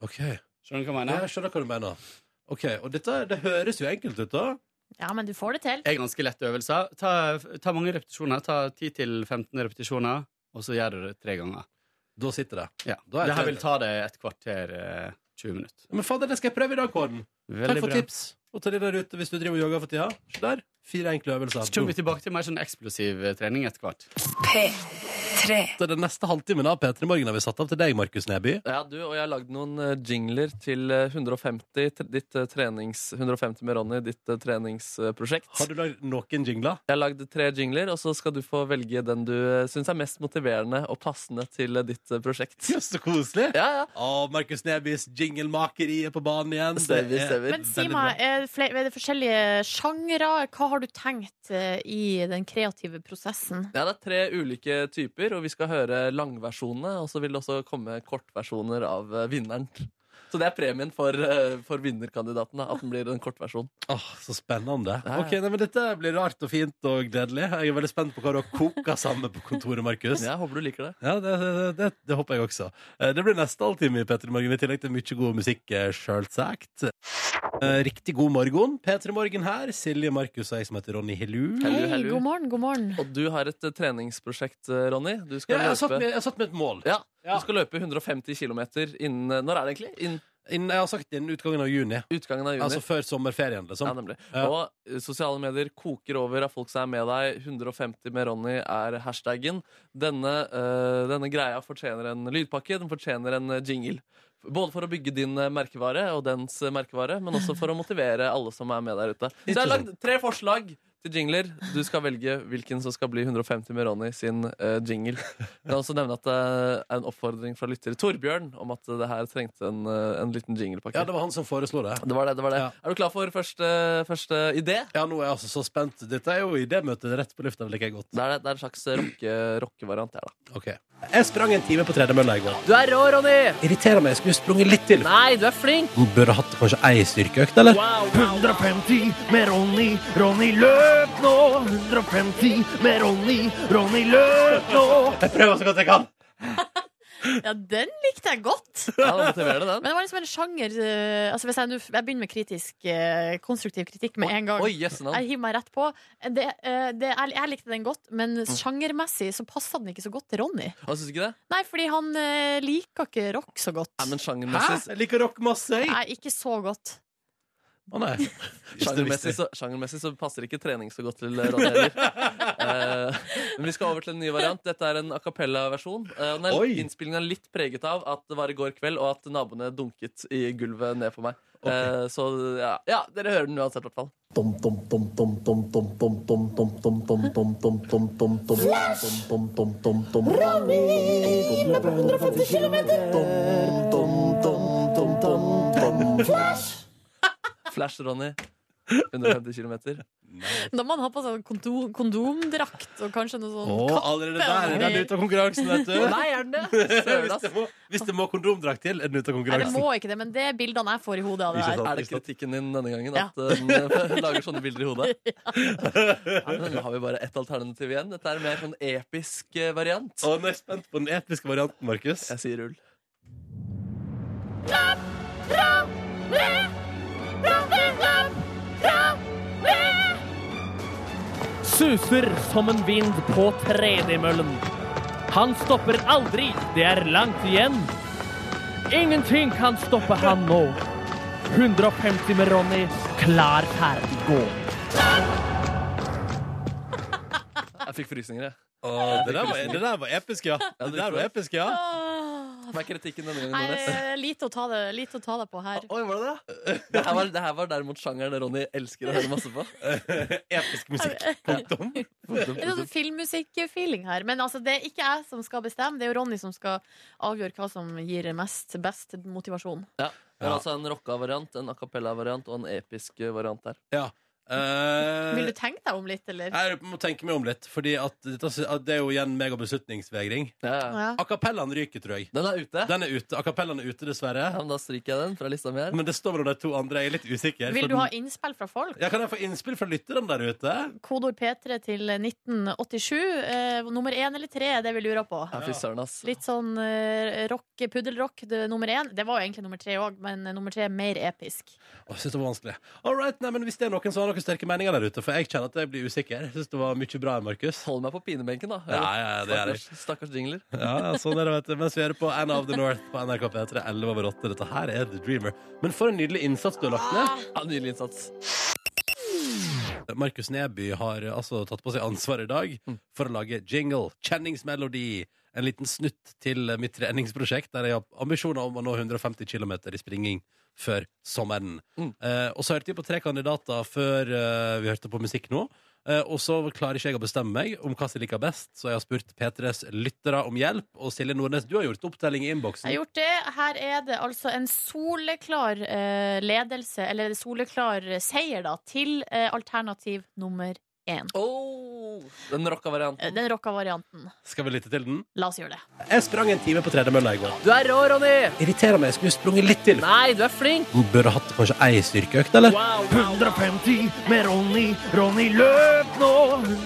S2: Ok.
S9: Skjønner du hva jeg
S2: Nei,
S9: mener?
S2: jeg skjønner hva du mener. Ok, og dette, det høres jo enkelt ut, da.
S3: Ja, men du får det til.
S9: Det er ganske lette øvelser. Ta, ta mange repetisjoner. Ta 10-15 repetisjoner, og så gjør du det tre ganger.
S2: Da sitter det.
S9: Ja.
S2: Da er
S9: Det her
S2: det-
S9: vil ta deg et kvarter, eh, 20 minutter.
S2: Men fader, det skal jeg prøve i dag, Kåren. Takk
S9: Veldig
S2: for
S9: bra.
S2: tips. Og til de der ute, hvis du driver og jogger for tida. Se der. Fire enkle øvelser.
S9: Så kommer vi tilbake til mer sånn eksplosiv eh, trening etter hvert.
S2: Til den neste halvtimen av P3 Morgen har vi satt av til deg, Markus Neby.
S4: Ja, du og jeg har lagd noen eh, jingler til eh, 150, t- ditt eh, trenings, 150 med Ronny, ditt eh, treningsprosjekt.
S2: Har du lagd noen jingler?
S4: Jeg har lagd tre jingler, og så skal du få velge den du eh, syns er mest motiverende og passende til eh, ditt eh, prosjekt.
S2: Ja, så koselig.
S4: Ja, ja.
S2: Og Markus Nebys jingelmakeri er på banen igjen.
S4: Ser vi,
S2: Det er-
S4: ser vi.
S3: Men si
S2: veldig
S3: meg, er det, flere, er det forskjellige sjangre? Hva har du tenkt eh, i den kreative prosessen?
S4: Ja, det er tre ulike typer, og vi skal høre langversjonene. Og så vil det også komme kortversjoner av eh, vinneren. Så det er premien for, eh, for vinnerkandidaten. da, At den blir en kortversjon.
S2: Åh, Så spennende.
S4: Ja, ja.
S2: Ok, nei, men Dette blir rart og fint og gledelig. Jeg er veldig spent på hva du har koka sammen på kontoret, Markus.
S4: Jeg håper du liker det.
S2: Ja, det, det, det, det håper jeg også. Eh, Det blir neste halvtime i P3 Morgen, i tillegg til mye god musikk, eh, sjølsagt. Eh, Riktig god morgen. P3 Morgen her. Silje, Markus og jeg som heter Ronny Helu.
S4: Hello,
S3: Hei,
S4: hello.
S3: god morgen, god morgen.
S4: Og du har et eh, treningsprosjekt, eh, Ronny. Du
S2: Ja,
S4: skal
S2: jeg har satt
S4: løpe
S2: med, jeg har satt med et mål.
S4: Ja,
S2: Ja.
S4: Du skal løpe 150 km innen eh, Når er det egentlig? Innen
S2: Innen, jeg har sagt innen utgangen av juni.
S4: utgangen av juni.
S2: Altså før sommerferien,
S4: ja,
S2: liksom.
S4: nemlig.
S2: Ja.
S4: Og eh, sosiale medier koker over av folk som er med deg. 150 med Ronny er hashtaggen. Denne, eh, denne greia fortjener en lydpakke, den fortjener en eh, jingle. Både for å bygge din eh, merkevare og dens eh, merkevare, men også for å motivere alle som er med der ute. Så jeg har lagd tre forslag til jingler. Du skal velge hvilken som skal bli 150 med Ronny sin eh, jingle. Jeg kan også nevne at det er en oppfordring fra lytter Torbjørn om at det her trengte en, eh, en liten jinglepakke.
S2: Ja, det var han som foreslo det.
S4: Det var det. det var det.
S2: Ja.
S4: Er du klar for første, første idé?
S2: Ja, nå er jeg altså så spent. Dette er jo idémøtet rett på lufta, liker jeg godt.
S4: Det er, det er en slags rocke, rockevariant her, da.
S2: Ok. Jeg sprang en time på tredemølla i går.
S4: Du er rå, Ronny!
S2: Irriterer meg. Jeg skulle sprunget litt til.
S4: Nei, du er flink!
S2: Burde hatt kanskje ei styrkeøkt, eller?
S10: 150 med Ronny. Ronny, løp nå! 150 med Ronny. Ronny, løp nå!
S2: Jeg prøver så godt jeg kan.
S3: Ja, den likte jeg godt.
S4: Ja, det motiverer den.
S3: Men det var liksom en sjanger eh, altså hvis jeg, nå- jeg begynner med kritisk, eh, konstruktiv kritikk med en gang.
S4: Oi, jøss navn.
S3: Jeg hiver meg rett på. Det, eh, det, jeg, jeg likte den godt, men sjangermessig så passa den ikke så godt til Ronny.
S4: Hva Syns du ikke det?
S3: Nei, fordi han eh, liker ikke rock så godt.
S4: Nei, men
S2: Hæ?
S4: sjangermessig,
S2: Jeg liker rock masse, jeg.
S3: Nei, ikke så godt.
S2: Å nei.
S4: sjangermessig, så, sjangermessig så passer ikke trening så godt til Ronny heller. Eh, men vi skal over til en ny variant. Dette er en a cappella-versjon. Eh, og den er-
S2: Oi.
S4: innspillingen er litt preget av at det var i går kveld, og at naboene dunket i gulvet ned på meg. Eh, så ja. ja, dere hører den uansett, i hvert fall. Flash, Ronny. 150 km.
S3: Da må han ha på seg kondom, kondomdrakt og kanskje noe sånn
S2: Å, allerede der er
S3: kappe.
S2: den ute av konkurransen, vet du.
S4: Nei, er den det? Søren,
S2: Hvis
S4: ass.
S2: det må, hvis det må kondomdrakt til, er den ute av
S3: Nei, det
S2: konkurransen.
S3: må ikke det, men det er bildene jeg får i hodet av det
S2: Ikke
S3: der.
S2: sant?
S4: Er det kritikken din denne gangen?
S3: Ja.
S4: At eh, den lager sånne bilder i hodet? Nei, men Da har vi bare ett alternativ igjen. Dette er en mer sånn episk eh, variant.
S2: Å, nå er jeg spent på den etniske varianten, Markus.
S4: Jeg sier ull.
S10: Suser som en vind på tredemøllen.
S11: Han stopper aldri. Det er langt igjen. Ingenting kan stoppe han nå. 150 med Ronny. Klar, ferdig, gå.
S4: Jeg fikk frysninger, jeg.
S2: det der var- det der var episk, ja. Det der var episk, ja.
S4: Hva er kritikken denne gangen,
S3: Nei,
S4: Nordnes?
S3: eh, lite å ta det, lite å ta deg på her.
S4: Oi, var det det? Det her var, det her var derimot sjangeren Ronny elsker å høre masse på.
S2: Episk musikk. Punktum.
S3: Det er sånn filmmusikk-feeling her. Men altså, det er ikke jeg som skal bestemme, det er jo Ronny som skal avgjøre hva som gir mest, best motivasjon.
S4: Ja. Det er altså en rocka variant, en a cappella-variant og en episk eh, variant der.
S2: Ja. Eh,
S3: Vil du tenke deg om litt, eller?
S2: Jeg må tenke meg om litt, Fordi at, dette, at det er jo igjen meg og beslutningsvegring.
S3: Ja.
S2: A cappellaen ryker, tror jeg.
S4: Den er ute?
S2: Den er ute. A cappellaen er ute, dessverre.
S4: Ja, men Da stryker jeg den fra lista mi her.
S2: Men det står mellom de to andre. Jeg er litt usikker.
S3: Vil
S2: for
S3: du ha
S2: den-
S3: innspill fra folk?
S2: ja, kan jeg få innspill fra lytterne der ute?
S3: Kodord P3 til 1987. Eh, nummer én eller tre er det vi lurer på.
S4: Ja, fy søren, ass.
S3: Litt sånn eh, rock, puddelrock det, nummer én. Det var jo egentlig nummer tre òg, men eh, nummer tre er mer episk.
S2: Å, Jeg synes det var vanskelig All right, nei, men Hvis det er noen som har noen sterke meninger der ute, for jeg kjenner at jeg blir usikker. Jeg synes det var mye bra, Markus.
S4: Hold meg på pinebenken, da.
S2: Ja, ja, det er det.
S4: Stakkars, stakkars jingler.
S2: Ja, ja, sånn er det, vet du. Mens vi hører på Anna of the North på NRK P3 11 over 8. Dette her er The Dreamer. Men for en nydelig innsats du har lagt ned.
S4: Ja, Nydelig innsats.
S2: Markus Neby har eh, altså tatt på seg ansvaret i dag for å lage jingle, kjenningsmelodi, en liten snutt til eh, mitt treningsprosjekt, der jeg har ambisjoner om å nå 150 km i springing før sommeren. Eh, og så hørte vi på tre kandidater før eh, vi hørte på musikk nå. Eh, og så klarer ikke jeg å bestemme meg om hva som liker best, så jeg har spurt P3s lyttere om hjelp. Og Silje Nordnes, du har gjort opptelling i innboksen.
S3: Jeg har gjort det. Her er det altså en soleklar eh, ledelse, eller soleklar seier, da, til eh, alternativ nummer én.
S4: Den rocka varianten.
S3: Den rocka varianten.
S2: Skal vi lytte til den?
S3: La oss gjøre det.
S2: Jeg sprang en time på tredemølla i går.
S4: Du er rå, Ronny!
S2: Irriterer meg. Jeg skulle sprunget litt til.
S4: Nei, du er flink!
S2: Du burde hatt kanskje ei styrkeøkt, eller?
S10: 150 med Ronny. Ronny, løp nå!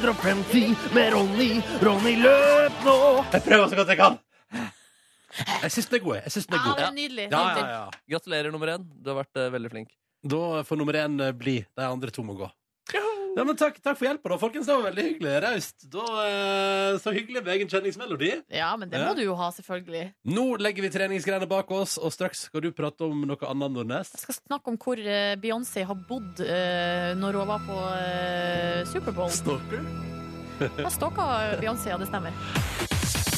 S10: 150 med Ronny. Ronny, løp nå!
S2: Jeg prøver så godt jeg kan. Jeg syns den er god. jeg. Jeg synes den er
S3: Ja,
S2: god.
S3: det er nydelig.
S2: Ja,
S3: nydelig.
S2: ja, ja.
S4: Gratulerer, nummer én. Du har vært eh, veldig flink.
S2: Da får nummer én eh, bli. De andre to må gå. Ja, men takk, takk for hjelpa, da, folkens. Det var veldig hyggelig. Raust. Da, eh, Så hyggelig med egen kjenningsmelodi.
S3: Ja, men det
S2: Ja.
S3: må du jo ha, selvfølgelig.
S2: Nå legger vi treningsgreiene bak oss, og straks skal du prate om noe annet, Nordnes.
S3: Jeg skal snakke om hvor eh, Beyoncé har bodd eh, når hun var på eh, Superbowl.
S2: Stalker?
S3: Jeg stalka Beyoncé, ja, det stemmer.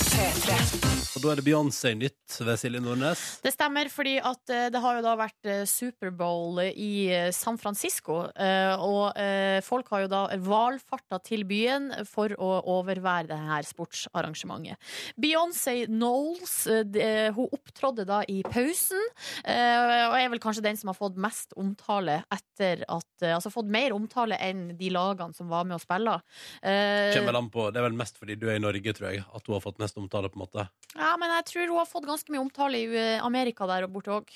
S2: Og da er det Beyoncé Nytt ved Silje Nordnes.
S3: Det stemmer, fordi at eh, det har jo da vært eh, Superbowl i eh, San Francisco. eh, Og eh, folk har jo da valfarta til byen for å overvære det her sportsarrangementet. Beyoncé Knowles eh, det- hun opptrådte da i pausen, eh, og er vel kanskje den som har fått mest omtale etter at eh, Altså fått mer omtale enn de lagene som var med eh, og spilla.
S2: Kjem vel an på, Det er vel mest fordi du er i Norge, tror jeg, at hun har fått mest omtale. på en måte
S3: Ja, men jeg tror hun har fått ganske mye omtale i eh, Amerika der og borte òg.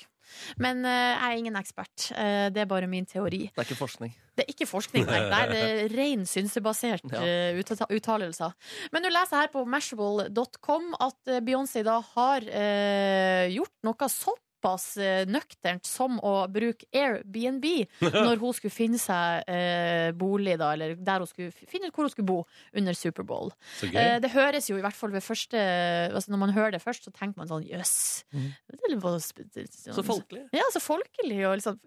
S3: Men eh, jeg er ingen ekspert. Eh, det er bare min teori.
S4: Det er ikke forskning.
S3: Det er ikke forskning, nei. nei det er ren synsebasert
S4: Ja.
S3: eh, uttata- uttalelser. Men nå leser jeg her på mashable.com at eh, Beyoncé da har eh, gjort noe såpass eh, nøkternt som å bruke Airbnb når hun skulle finne seg eh, bolig, da, eller der hun skulle f- finne ut hvor hun skulle bo under Superbowl.
S2: Så gøy.
S3: Eh, det høres jo i hvert fall ved første altså Når man hører det først, så tenker man sånn jøss.
S4: Mhm.
S3: det er litt bare sp- det-
S4: Så folkelig.
S3: Ja, så folkelig. Og liksom,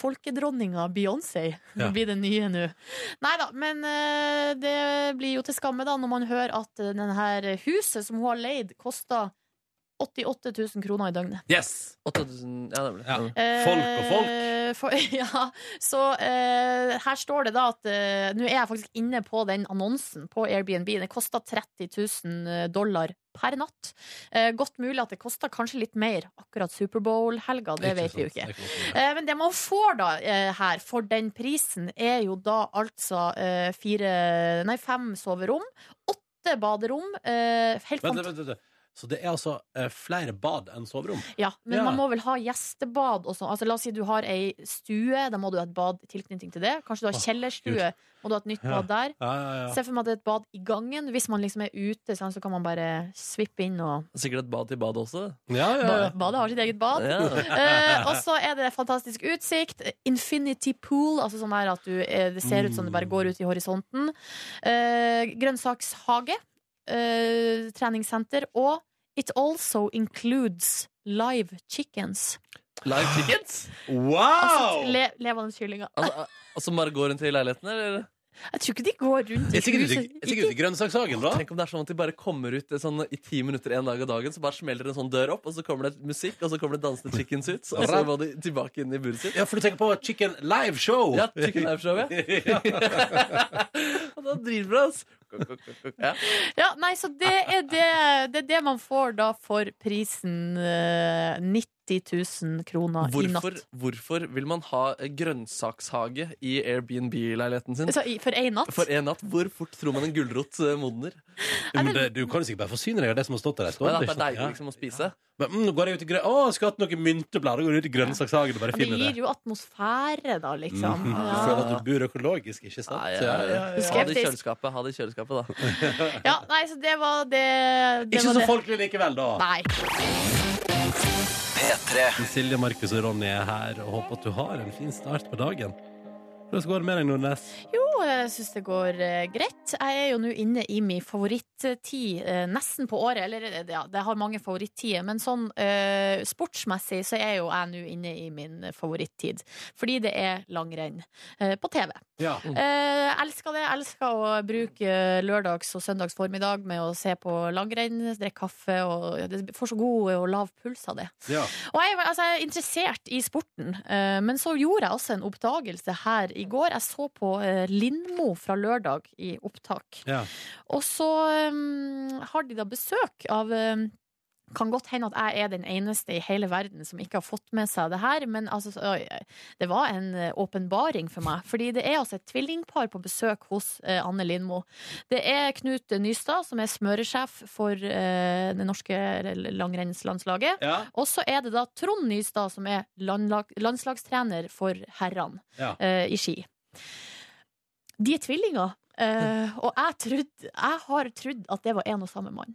S3: folkedronninga Beyoncé
S4: Ja.
S3: blir det nye nå. Nei da, men eh, det blir jo til skamme da når man hører at eh, den her huset som hun har leid, koster 88 000 kroner i døgnet.
S2: Yes!
S4: 8000 Ja, Mm. det blir det.
S3: Eh,
S2: Folk og folk.
S3: for- ja, så eh, her står det da at eh, Nå er jeg faktisk inne på den annonsen på Airbnb. Det kosta 30 000 dollar per natt. Eh, godt mulig at det kosta kanskje litt mer akkurat Superbowl-helga, det
S2: Ikke
S3: vet vi jo
S2: sant,
S3: ikke.
S2: det kan man si.
S3: Eh, Men det man får da eh, her for den prisen, er jo da altså eh, fire Nei, fem soverom. Åtte baderom. eh, Helt
S2: Vent,
S3: fantastisk.
S2: vent, vent, vent. Så det er altså eh, flere bad enn soverom?
S3: Ja,
S2: Ja.
S3: men man må vel ha gjestebad og sånn. Altså, la oss si du har ei stue, da må du ha et bad i tilknytning til det. Kanskje du har
S2: Åh,
S3: kjellerstue, må du ha et nytt
S2: Ja.
S3: bad der.
S2: Ja, ja,
S3: Se
S2: ja.
S3: for meg at det er et bad i gangen. Hvis man liksom er ute, sånn, så kan man bare svippe inn og
S4: Sikkert et bad til badet også.
S2: ja, ja, ja.
S3: Ba- Badet har sitt eget bad.
S4: Ja.
S3: Eh, og så er det fantastisk utsikt. Infinity pool, altså sånn her at du, eh, det ser ut som det bare går ut i horisonten. Eh, grønnsakshage. eh, treningssenter. Og it also includes live chickens.
S4: Live chickens?
S9: Wow!
S3: Altså le, levende kyllinger.
S4: Altså, altså bare gå rundt i leiligheten, eller?
S3: Jeg tror ikke de går rundt i huset.
S2: grønnsakshagen,
S4: da. Tenk om det er sånn at de bare kommer ut eh, sånn, i ti minutter en dag av dagen, så bare smeller en sånn dør opp, og så kommer det musikk, og så kommer det dansende chickens ut, og så må de tilbake inn i buret sitt.
S2: Ja, for du tenker på Chicken Live Show.
S4: Ja, Chicken Live Show, ja. Og da driver det, altså. Ja.
S3: Ja, nei, så det er det, det er det man får da for prisen eh, 90 000 kroner i
S4: Hvorfor,
S3: natt.
S4: hvorfor vil man ha eh, grønnsakshage i Airbnb-leiligheten sin?
S3: Så i- for én natt?
S4: For en natt? Hvor fort tror man en gulrot eh, modner?
S2: men det, du kan jo sikkert bare forsyne deg av det som har stått der. en stund,
S4: Ja, det
S2: ikke
S4: er
S2: sant?
S4: deilig
S2: Ja.
S4: liksom å spise.
S2: Men mm, nå går jeg ut i grøn... Å, skulle hatt noen mynteblader. Går ut i grønnsakshagen og bare
S3: Ja, Det
S2: finner det.
S3: gir jo atmosfære, da, liksom.
S2: Mhm.
S3: Ja.
S2: Føler at du bor økologisk, ikke sant?
S4: Ja, ja, ja. Ha det i
S3: Skeptisk.
S4: kjøleskapet, ha det i kjøleskapet da.
S3: Ja, nei, så det var det, det
S2: Ikke
S3: var
S2: så
S3: det.
S2: folkelig likevel, da.
S3: Nei.
S2: Silje, Markus og Ronny er her og håper at du har en fin start på dagen. Hvordan går det med deg, Nordnes?
S3: Jo, jeg syns det går eh, greit. Jeg er jo nå inne i min favorittid eh, nesten på året. Eller eh, ja, det har mange favorittider, men sånn eh, sportsmessig så er jo jeg nå inne i min favorittid. Fordi det er langrenn eh, på TV.
S2: Ja.
S3: Eh, elsker det. Elsker å bruke eh, lørdags og søndags formiddag med å se på langrenn, drikke kaffe og ja, Det får så god og lav puls av det. Og jeg, er- altså, jeg er interessert i sporten, eh, men så gjorde jeg også en oppdagelse her i går. Jeg så på eh, Lindmo fra lørdag i opptak.
S2: Ja.
S3: Og så eh, har de da besøk av eh, kan godt hende at jeg er den eneste i hele verden som ikke har fått med seg det her, men altså, så- øy, det var en eh, åpenbaring for meg. Fordi det er altså et tvillingpar på besøk hos eh, Anne Lindmo. Det er Knut Nystad, som er smøresjef for eh, det norske langrennslandslaget.
S2: Ja.
S3: Og så er det da Trond Nystad, som er landlag, landslagstrener for herrene
S2: Ja.
S3: eh, i ski. De er tvillinger, eh, og jeg, trodde, jeg har trodd at det var en og samme mann.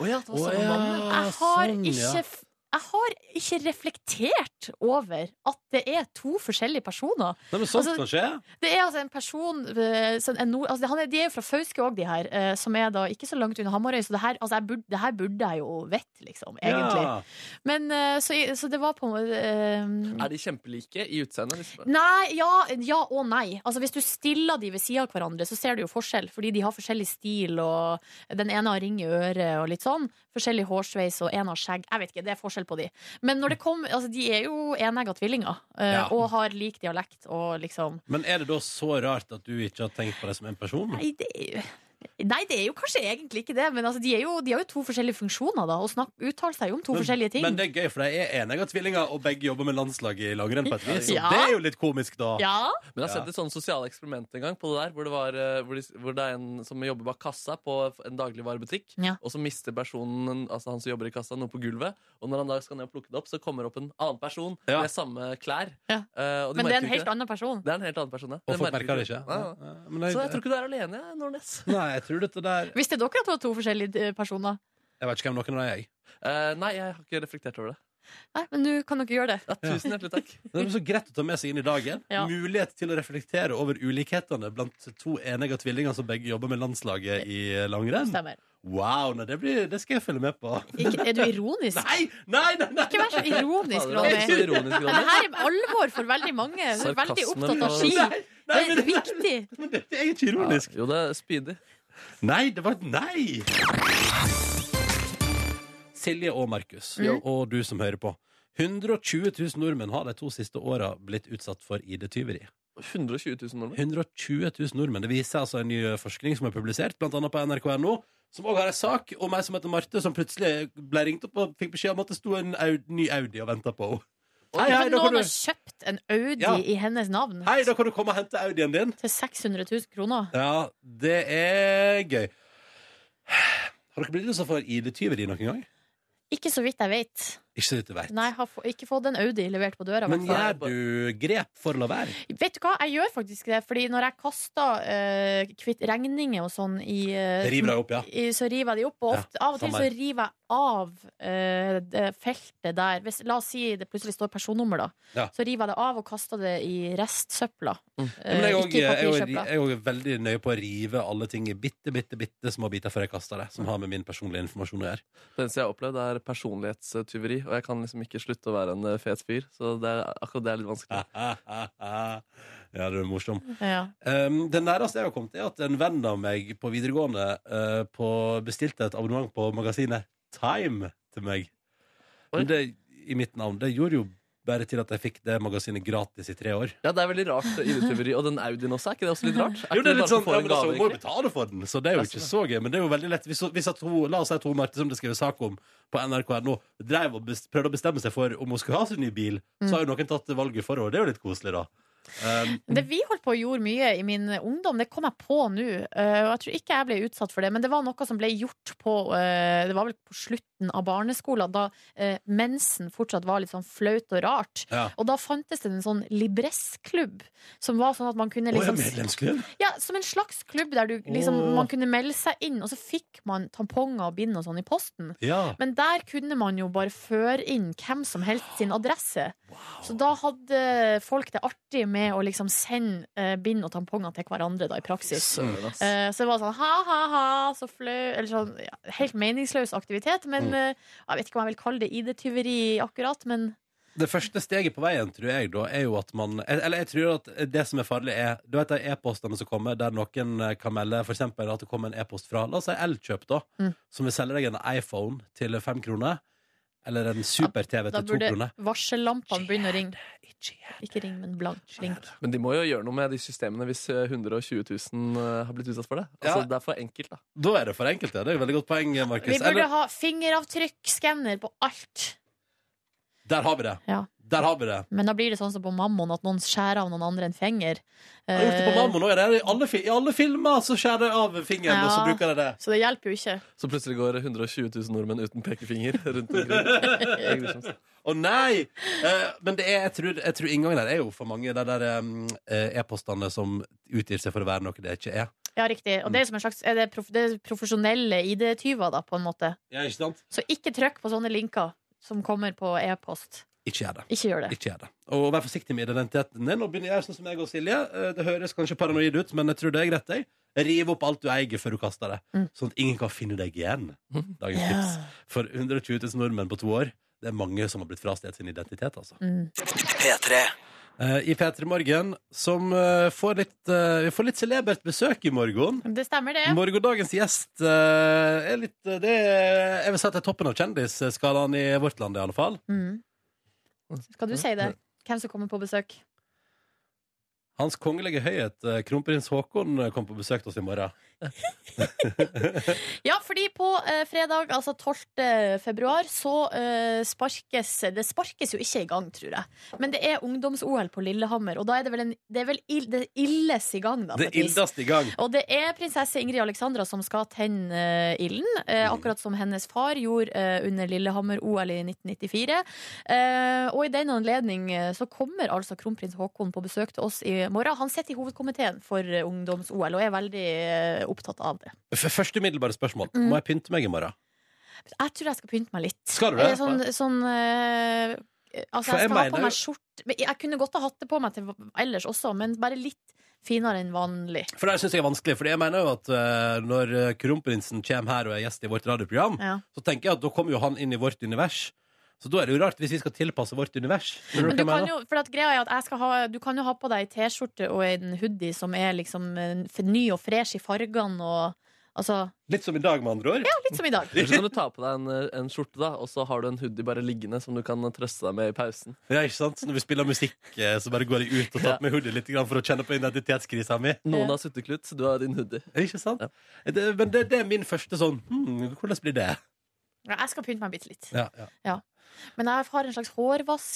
S4: Å ja, det
S2: var samme mann, ja.
S3: Jeg har
S2: Sånn, ja.
S3: ikke f- jeg har ikke reflektert over at det er to forskjellige personer.
S2: Nei, men sånt kan skje.
S3: Det er altså en person eh, som er nord, altså, han er, De er jo fra Fauske òg, de her, eh, som er da ikke så langt unna Hamarøy. Så det her, altså, jeg burde, det her burde jeg jo vite, liksom. Egentlig.
S4: Ja.
S3: Men, eh, så, så det var på en måte eh,
S4: Er de kjempelike i utseendet? Liksom?
S3: Nei, ja, ja og nei. Altså, hvis du stiller de ved sida av hverandre, så ser du jo forskjell, fordi de har forskjellig stil, og den ene har ring i øret og litt sånn. Forskjellig hårsveis, og en har skjegg. Jeg vet ikke, det er forskjell på de. Men når det kom, altså, de er jo enegga tvillinger, eh,
S2: Ja.
S3: og har lik dialekt og liksom
S2: Men er det da så rart at du ikke har tenkt på det som en person?
S3: Nei, det er jo Nei, det er jo kanskje egentlig ikke det, men altså, de, er jo, de har jo to forskjellige funksjoner, da, og snak, uttaler seg jo om to forskjellige ting.
S2: Men det er gøy, for de er enige av tvillinger, og begge jobber med landslaget i langrenn. på et vis.
S3: Ja.
S2: Så Det er jo litt komisk, da.
S3: Ja.
S4: Men jeg har sett et sånt sosiale eksperiment en gang på det der, hvor det, var, eh, hvor de, hvor det er en som jobber bak kassa på en dagligvarebutikk,
S3: Ja.
S4: og så mister personen, altså han som jobber i kassa, noe på gulvet, og når han da skal ned og plukke det opp, så kommer opp en annen person
S2: Ja.
S4: med samme klær.
S3: Ja.
S4: Eh, og de
S3: Men det er en
S4: merker jo ikke
S3: helt annen person.
S4: Det er en helt annen person, ja.
S2: Og folk merker det
S4: jo
S2: ikke.
S4: Nei, nei.
S2: Men
S4: Så jeg tror ikke du er alene, jeg, Nordnes.
S2: Nei, jeg tror dette der
S3: Visste dere at det var to forskjellige eh, personer?
S2: Jeg vet ikke hvem noen av dem er, jeg.
S4: Eh, nei, jeg har ikke reflektert over det.
S3: Nei, men nå kan dere gjøre det.
S4: Tusen hjertelig takk.
S2: Det er så greit å ta med seg inn i dagen.
S3: Ja.
S2: Mulighet til å reflektere over ulikhetene blant to enige tvillinger som begge jobber med landslaget i langrenn.
S3: Stemmer.
S2: Wow, nei, det, blir, det skal jeg følge med på.
S3: Ikke, er du ironisk?
S2: Nei, nei, nei, nei.
S3: Ikke vær så ironisk,
S2: Fader,
S3: Ronny.
S2: han er så ironisk, Ronny.
S3: Det her er alvor for veldig mange. Du er veldig
S4: Sarkasmen
S3: opptatt av
S4: og-
S3: ski.
S4: Nei,
S3: Det er viktig.
S2: Det er ikke ironisk.
S4: jo, det er spydig.
S2: Nei, det var et nei! Silje og Markus,
S4: Mm.
S2: og du som hører på. 120 000 nordmenn har de to siste åra blitt utsatt for ID-tyveri.
S4: 120 000 nordmenn.
S2: 120 000 nordmenn. Det viser altså en ny forskning som er publisert, blant annet på nrk.no, som også har en sak om ei som heter Marte, som plutselig ble ringt opp og fikk beskjed om at det sto en au ny Audi og venta på henne. Hei, hei,
S3: Men
S2: da
S3: noen
S2: kan
S3: har
S2: du,
S3: kjøpt en Audi
S2: Ja.
S3: i hennes navn
S2: hei, da kan du komme og hente Audien din.
S3: til 600 000 kroner.
S2: Ja, det er gøy. Har dere blitt utsatt for ID-tyveri noen gang?
S3: Ikke så vidt jeg vet.
S2: Ikke så vidt du vet.
S3: Nei, har få, ikke fått en Audi levert på døra. i
S2: Men
S3: hvert
S2: gjør
S3: fall.
S2: du grep for å la være?
S3: Vet du hva, jeg gjør faktisk det. Fordi når jeg kaster eh, kvitt regninger og sånn i eh,
S2: River deg opp, ja.
S3: i- Så river jeg de opp. Og
S2: Ja,
S3: ofte, av og til
S2: samme
S3: så
S2: her.
S3: river jeg av eh, det feltet der. Hvis, la oss si det plutselig står personnummer, da.
S2: Ja. Mm.
S3: Så river jeg det av og kaster det i restsøpla.
S2: Ja, Men jeg
S3: Eh,
S2: er
S3: ikke i
S2: også- jeg er-
S3: papirsøpla.
S2: jeg er også veldig nøye på å rive alle ting i bitte, bitte, bitte små biter før jeg kaster det. Som har med min personlige informasjon å gjøre.
S4: Det eneste jeg har opplevd, er personlighetstyveri. Og jeg kan liksom ikke slutte å være en eh, fet fyr. Så det er, akkurat det er litt vanskelig.
S2: Ja, du er morsom.
S3: Ja.
S2: Um, det nærmeste jeg har kommet, er at en venn av meg på videregående eh, på, bestilte et abonnement på magasinet Time til meg. Men det, i mitt navn. Det gjorde jo bare til at jeg fikk det magasinet gratis i tre år.
S4: Ja, Det er veldig rart, ID-tyveri. Og den Audien også, er ikke det også litt rart?
S2: Jo, det er litt sånn, ja, men altså,
S4: altså,
S2: Hun må jo betale for den, så det er jo
S4: Ja,
S2: ikke
S4: sånn,
S2: så gøy. Men det er jo veldig lett. Hvis, hvis at hun, la oss si at hun Marte, som det skrev sak om på nrk.no, drev og bes- prøvde å bestemme seg for om hun skulle ha sin nye bil, så har jo noen tatt valget for henne. Det er jo litt koselig, da. Um,
S3: Det vi holdt på å gjøre mye i min ungdom, det kom jeg på nå. eh, Og jeg tror ikke jeg ble utsatt for det, men det var noe som ble gjort på eh, Det var vel på slutten av barneskolen, da eh, mensen fortsatt var litt sånn flaut og rart.
S2: Ja.
S3: Og da fantes det en sånn libressklubb, som var sånn at man
S2: Å,
S3: kunne
S2: ja,
S3: liksom
S2: medlemsklubb?
S3: Ja, som en slags klubb der du liksom
S2: Åh.
S3: Man kunne melde seg inn, og så fikk man tamponger og bind og sånn i posten.
S2: Ja.
S3: Men der kunne man jo bare føre inn hvem som helst sin adresse. Så da hadde folk det artig med å liksom sende eh, bind og tamponger til hverandre da, i praksis.
S4: Søren, ass.
S3: Eh, så det var sånn ha-ha-ha, så flau Eller sånn ja, helt meningsløs aktivitet. Men
S2: Mm.
S3: eh, jeg vet ikke om jeg vil kalle det ID-tyveri akkurat, men
S2: Det første steget på veien, tror jeg, da, er jo at man Eller jeg tror at det som er farlig, er Du vet de e-postene som kommer, der noen eh, kan melde f.eks. at det kommer en e-post fra La oss si Elkjøp, da,
S3: Mm.
S2: som vil selge deg en iPhone til fem kroner. Eller en super-TV
S3: da
S2: til to
S3: burde
S2: kroner.
S3: varsellampene begynne å ringe. Ikke ring, men blank. Blink.
S4: Men de må jo gjøre noe med de systemene hvis eh, 120 000 har blitt utsatt for det. Altså,
S2: Ja.
S4: Det er for enkelt, da.
S2: Da er det for enkelt, ja. Det er et veldig godt poeng, Markus.
S3: Vi burde
S2: Eller-
S3: ha fingeravtrykkskanner på alt.
S2: Der har vi det. Der har vi det.
S3: Men da blir det sånn som på Mammon, at noen skjærer av noen andre en finger. Eh,
S2: Jeg har gjort det på Mammon også, er det? I alle, fi- I alle filmer så skjærer de av fingeren, og så
S3: Ja.
S2: bruker de det.
S3: Så det hjelper jo ikke.
S4: Så plutselig går 120 000 nordmenn uten pekefinger rundt omkring. Jeg blir sånn-
S2: Å nei! Eh, men det er, jeg, tror, jeg tror inngangen der er jo for mange de der em, eh, e-postene som utgir seg for å være noe det ikke er.
S3: Ja, riktig. Og det er, som en slags, er det, prof, det er profesjonelle ID-tyver, da, på en måte.
S2: Ja, ikke sant?
S3: Så ikke trykk på sånne linker som kommer på e-post.
S2: Ikke gjør det.
S3: Ikke gjør det.
S2: Ikke gjør det. Og vær forsiktig med identiteten din. Nå begynner jeg sånn som jeg og Silje. Eh, Det høres kanskje paranoid ut, men jeg tror det er greit. Jeg. Riv opp alt du eier før du kaster det, sånn at ingen kan finne deg igjen. Dagens
S10: Ja.
S2: tips. For 120 000 nordmenn på to år, det er mange som har blitt frastjålet sin identitet, altså.
S10: P3.
S2: Eh, I P3 Morgen, som eh, får litt, eh, vi får litt celebert besøk i morgen.
S3: Det stemmer, det.
S2: Morgendagens gjest eh, er litt eh, det er, Jeg vil si at det er toppen av kjendisskalaen i vårt land, i alle fall.
S3: Mm. Skal du si det? Hvem som kommer på besøk?
S2: Hans kongelige høyhet, eh, kronprins Haakon, eh, kom på besøk til oss i morgen.
S3: Ja, fordi på eh, fredag, altså 12. februar, så eh, sparkes Det sparkes jo ikke i gang, tror jeg. Men det er ungdoms-OL på Lillehammer, og da er det vel, en, det er vel ill, det ildes i gang, da. på
S2: Det
S3: et vis.
S2: ildast i gang.
S3: Og det er prinsesse Ingrid Alexandra som skal tenne eh, ilden, eh, akkurat som hennes far gjorde eh, under Lillehammer-OL i 1994. Eh, og i den anledning eh, så kommer altså kronprins Haakon på besøk til oss i morgen. Han sitter i hovedkomiteen for eh, ungdoms-OL og er veldig eh, opptatt av det.
S2: F første umiddelbare spørsmål.
S3: Mm.
S2: Må jeg pynte meg i morgen?
S3: Jeg tror jeg skal pynte meg litt.
S2: Skal du det?
S3: Eh, Sånn, sånn eh, Altså,
S2: For jeg
S3: jeg skal ha
S2: mener
S3: på
S2: jo-
S3: meg skjort men Jeg kunne godt ha hatt det på meg til ellers også, men bare litt finere enn vanlig.
S2: For det syns jeg er vanskelig. For jeg mener jo at eh, når eh, kronprinsen kommer her og er gjest i vårt radioprogram,
S3: Ja.
S2: så tenker jeg at da kommer jo han inn i vårt univers. Så da er det jo rart hvis vi skal tilpasse vårt univers. Skjønner
S3: Men
S2: du
S3: du
S2: hva jeg
S3: kan
S2: mener?
S3: jo, for at greia er at jeg skal ha, du kan jo ha på deg ei T-skjorte og en hoodie som er liksom eh, f- ny og fresh i fargene og altså
S2: Litt som i dag, med andre ord.
S3: Ja, litt som i dag.
S4: Eller så kan du ta på deg en, eh, en skjorte, da, og så har du en hoodie bare liggende som du kan eh, trøste deg med i pausen.
S2: Ja, ikke sant? Når vi spiller musikk, eh, så bare går jeg ut og tar på meg hoodie litt grann for å kjenne på identitetskrisa mi.
S4: Noen har sutteklut, du har din hoodie.
S2: Ikke sant? Det, men det, det er min første sånn hmm, Hvordan blir det?
S3: Ja, Jeg skal pynte meg bitte litt.
S2: Ja, ja.
S3: Ja. Men jeg har en slags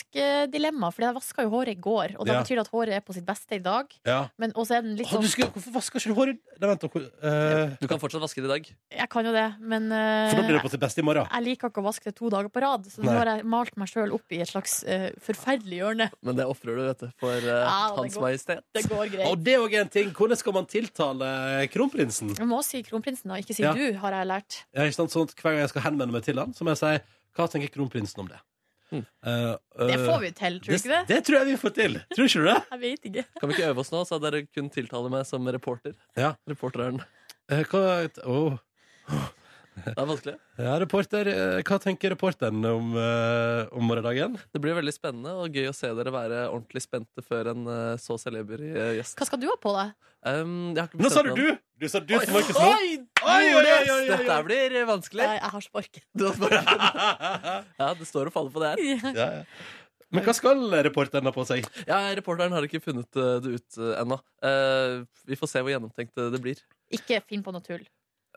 S3: hårvaskdilemma, Fordi jeg vaska jo håret i går. Og da
S2: Ja.
S3: betyr det at håret er på sitt beste i dag.
S2: Ja.
S3: Men også er den litt
S2: Å,
S3: sånn
S2: du skulle, hvorfor vasker ikke du håret? Nei, vent, da, hvor- eh,
S4: Du kan fortsatt vaske det i dag.
S3: Jeg kan jo det, men eh,
S2: for da blir det på sitt beste i morgen.
S3: jeg liker ikke å vaske det to dager på rad, så nå
S2: Nei.
S3: har jeg malt meg sjøl opp i et slags eh, forferdelig hjørne.
S4: Men det ofrer du, vet du, for eh,
S3: Ja, Ah, det
S4: Hans
S3: går-
S4: Majestet.
S3: Det går greit.
S2: Og det er òg en ting. Hvordan skal man tiltale eh, kronprinsen?
S3: Jeg må si kronprinsen, og ikke si
S2: Ja.
S3: du, har jeg lært.
S2: Ja, ikke sant? Sånn at hver gang jeg skal henvende meg til han, så må jeg si hva tenker kronprinsen om det? Eh,
S3: Det
S2: eh,
S3: får vi til, tror du ikke det?
S2: Det tror jeg vi får til. Tror ikke du det?
S3: Jeg vet ikke.
S4: Kan vi ikke øve oss nå, så dere kun tiltaler meg som reporter?
S2: Ja.
S4: Reporteren.
S2: Eh, hva, åh.
S4: Det er vanskelig.
S2: ja, reporter, eh, hva tenker reporteren om, eh, om morgendagen?
S4: Det blir veldig spennende og gøy å se dere være ordentlig spente før en eh, så celeber eh, gjest.
S3: Hva skal du ha på deg?
S4: Um, jeg har ikke
S2: Nå sa
S4: bestemt
S2: du
S4: meg.
S2: du! Du sa du
S4: Oi,
S2: til Markus nå.
S4: oi,
S2: Oi, oi, oi, oi, oi.
S4: Dette blir vanskelig.
S3: Nei, jeg har sparken.
S4: Du har sparken. ja, det står og faller på det her.
S2: Ja, ja. Men hva skal reporteren ha på seg?
S4: Ja, Reporteren har ikke funnet eh, det ut eh, ennå. Eh, vi får se hvor gjennomtenkt eh, det blir.
S3: Ikke finn på noe tull.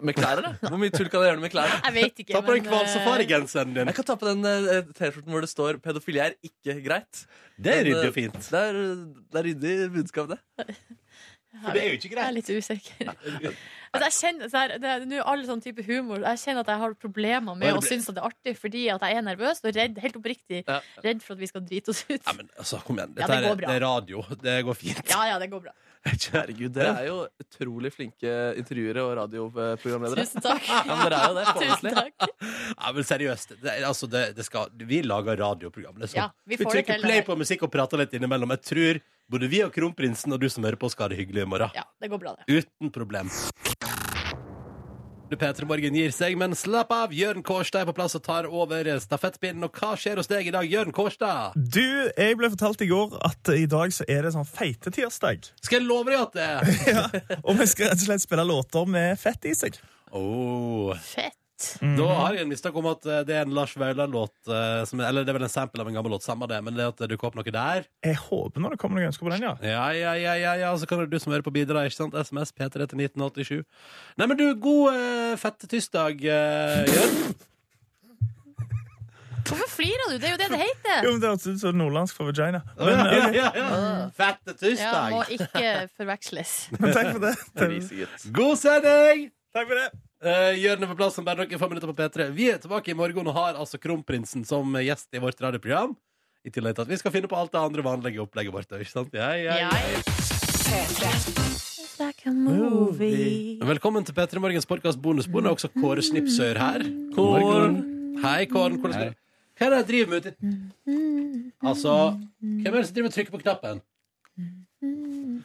S4: Med klær, da? Hvor mye tull kan jeg gjøre med klær? da?
S3: Jeg vet ikke, Ta på den men, eh,
S2: hvalsafarigenseren din.
S4: Jeg kan ta på den eh, T-skjorten hvor det står 'pedofili er ikke greit'.
S2: Det er
S4: Men, eh,
S2: ryddig og fint.
S4: Det er, det er ryddig budskap, det.
S3: For
S2: det er jo ikke greit.
S3: eh, Jeg er litt usikker. Altså, jeg kjenner, så her, det er nå all sånn type humor Jeg kjenner at jeg har problemer med
S2: Ja, det
S3: å
S2: blir-
S3: synes at det er artig fordi at jeg er nervøs og redd, helt oppriktig
S2: Ja.
S3: redd for at vi skal drite oss ut.
S2: Altså, kom igjen.
S3: Ja,
S2: Dette
S3: det går
S2: er,
S3: bra.
S2: det er radio. Det går fint.
S3: Ja, ja, det går bra.
S2: Herregud,
S4: Dere er jo utrolig flinke intervjuere og radioprogramledere.
S3: Tusen takk.
S4: Ja, men dere er jo det, på
S3: Tusen
S4: ordentlig.
S3: takk.
S2: Ja, men seriøst, det, er- altså det, det skal, vi lager radioprogram. Liksom.
S3: Ja, vi får det
S2: trykker
S3: til,
S2: play
S3: det der.
S2: på musikk og prater litt innimellom. Jeg tror både vi og kronprinsen og du som hører på, skal ha det hyggelig i morgen.
S3: Ja, det går bra, det.
S2: Uten problem. Du, Petra Morgen gir seg, men slapp av. Jørn Kårstad er på plass og tar over stafettpinnen. Og hva skjer hos deg i dag, Jørn Kårstad?
S12: Du, jeg ble fortalt i går at i dag så er det sånn feitetirsdag.
S2: Skal jeg love deg at det er?
S12: Og vi skal rett og slett spille låter med fett i seg.
S2: Oh.
S3: Fett.
S2: Da har jeg en mistanke om at eh, det er en Lars Vaular-låt eh, som- Eller det er vel en sample av en gammel låt, samme det, men det at det dukker opp noe der
S12: Jeg håper når det kommer noen ønsker på den, ja.
S2: Ja, ja, ja, ja, ja. Så kan det du som hører på bidra, ikke sant? SMS P3 til 1987. Nei, men du, god uh, fettetysdag, eh, Jørn.
S3: Hvorfor flirer du? Det er jo det det heter.
S12: Jo, men Det hørtes ut som sånn nordlandsk for vagina. eh,
S2: Å, ja, ja, ja, ja. Fette
S3: Ja, må ikke forveksles.
S12: Men takk for det.
S2: God sending!
S12: Takk for det.
S2: Uh, Jørn er på plass om bare noen få minutter på P3. Vi er tilbake i morgen og har altså kronprinsen som gjest i vårt radioprogram. I tillegg til at vi skal finne på alt det andre vanlige opplegget vårt. Ikke sant? Ja, ja, ja. Velkommen til P3 Morgens podkast bonusbord. Det er også Kåre Snipsøyer her. Kåren. Hei, Kåren. Hvordan går det? Hva er det jeg driver med uti Altså, hvem er det som driver og trykker på knappen?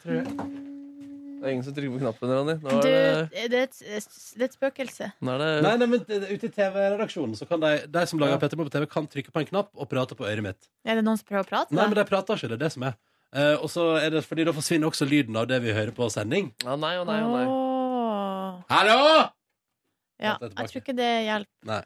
S4: Det er ingen som trykker på knappen, Ronny. Nå
S3: Du,
S4: er det,
S3: det er et, det er et spøkelse.
S4: nå er det
S2: Nei, nei, men det- det- ute i TV-redaksjonen så kan de, de som lager P3 Morgen på TV, kan trykke på en knapp og prate på øret mitt.
S3: Er det noen som prøver å prate?
S2: Nei, men de prater ikke. Det er det som er. Eh, og så er det fordi da forsvinner også lyden av det vi hører på sending.
S4: Ja, nei og
S3: nei,
S4: nei og nei.
S3: Åh.
S2: Hallo!
S3: Ja,
S2: Vent, det er tilbake.
S3: jeg tror ikke det hjelper.
S2: Nei.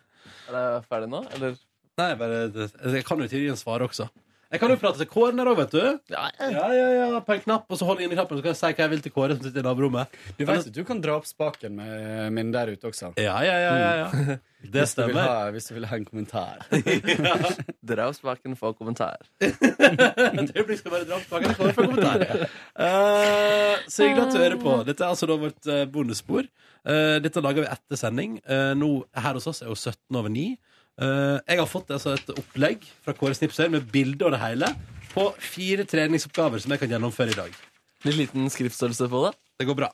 S4: Er det ferdig nå, eller?
S2: Nei, bare, eh, jeg kan jo tidligere svare også. Jeg kan jo prate til Kåren her òg, vet du.
S4: Ja,
S2: ja, ja, På en knapp, og så holder jeg inn i knappen, så kan jeg si hva jeg vil til Kåre som sitter i naborommet.
S9: Du vet at du kan dra opp spaken med min der ute også.
S2: Ja, ja, ja, ja, ja.
S9: Mm.
S2: Det
S9: hvis du vil
S2: stemmer.
S9: ha- Hvis du vil ha en kommentar.
S4: Dra opp spaken, få kommentar.
S2: Et øyeblikk skal bare dra opp spaken, så får jeg kommentar. Eh, så hyggelig at du hører på. Dette er altså da vårt eh, bonusspor. Eh, dette lager vi etter sending. Eh, nå, her hos oss er jo 17 over 9. Eh, jeg har fått altså, et opplegg fra Kåre Snipsøy med bilde og det hele på fire treningsoppgaver som jeg kan gjennomføre i dag.
S4: Litt liten skriftstørrelse på det?
S2: Det går bra.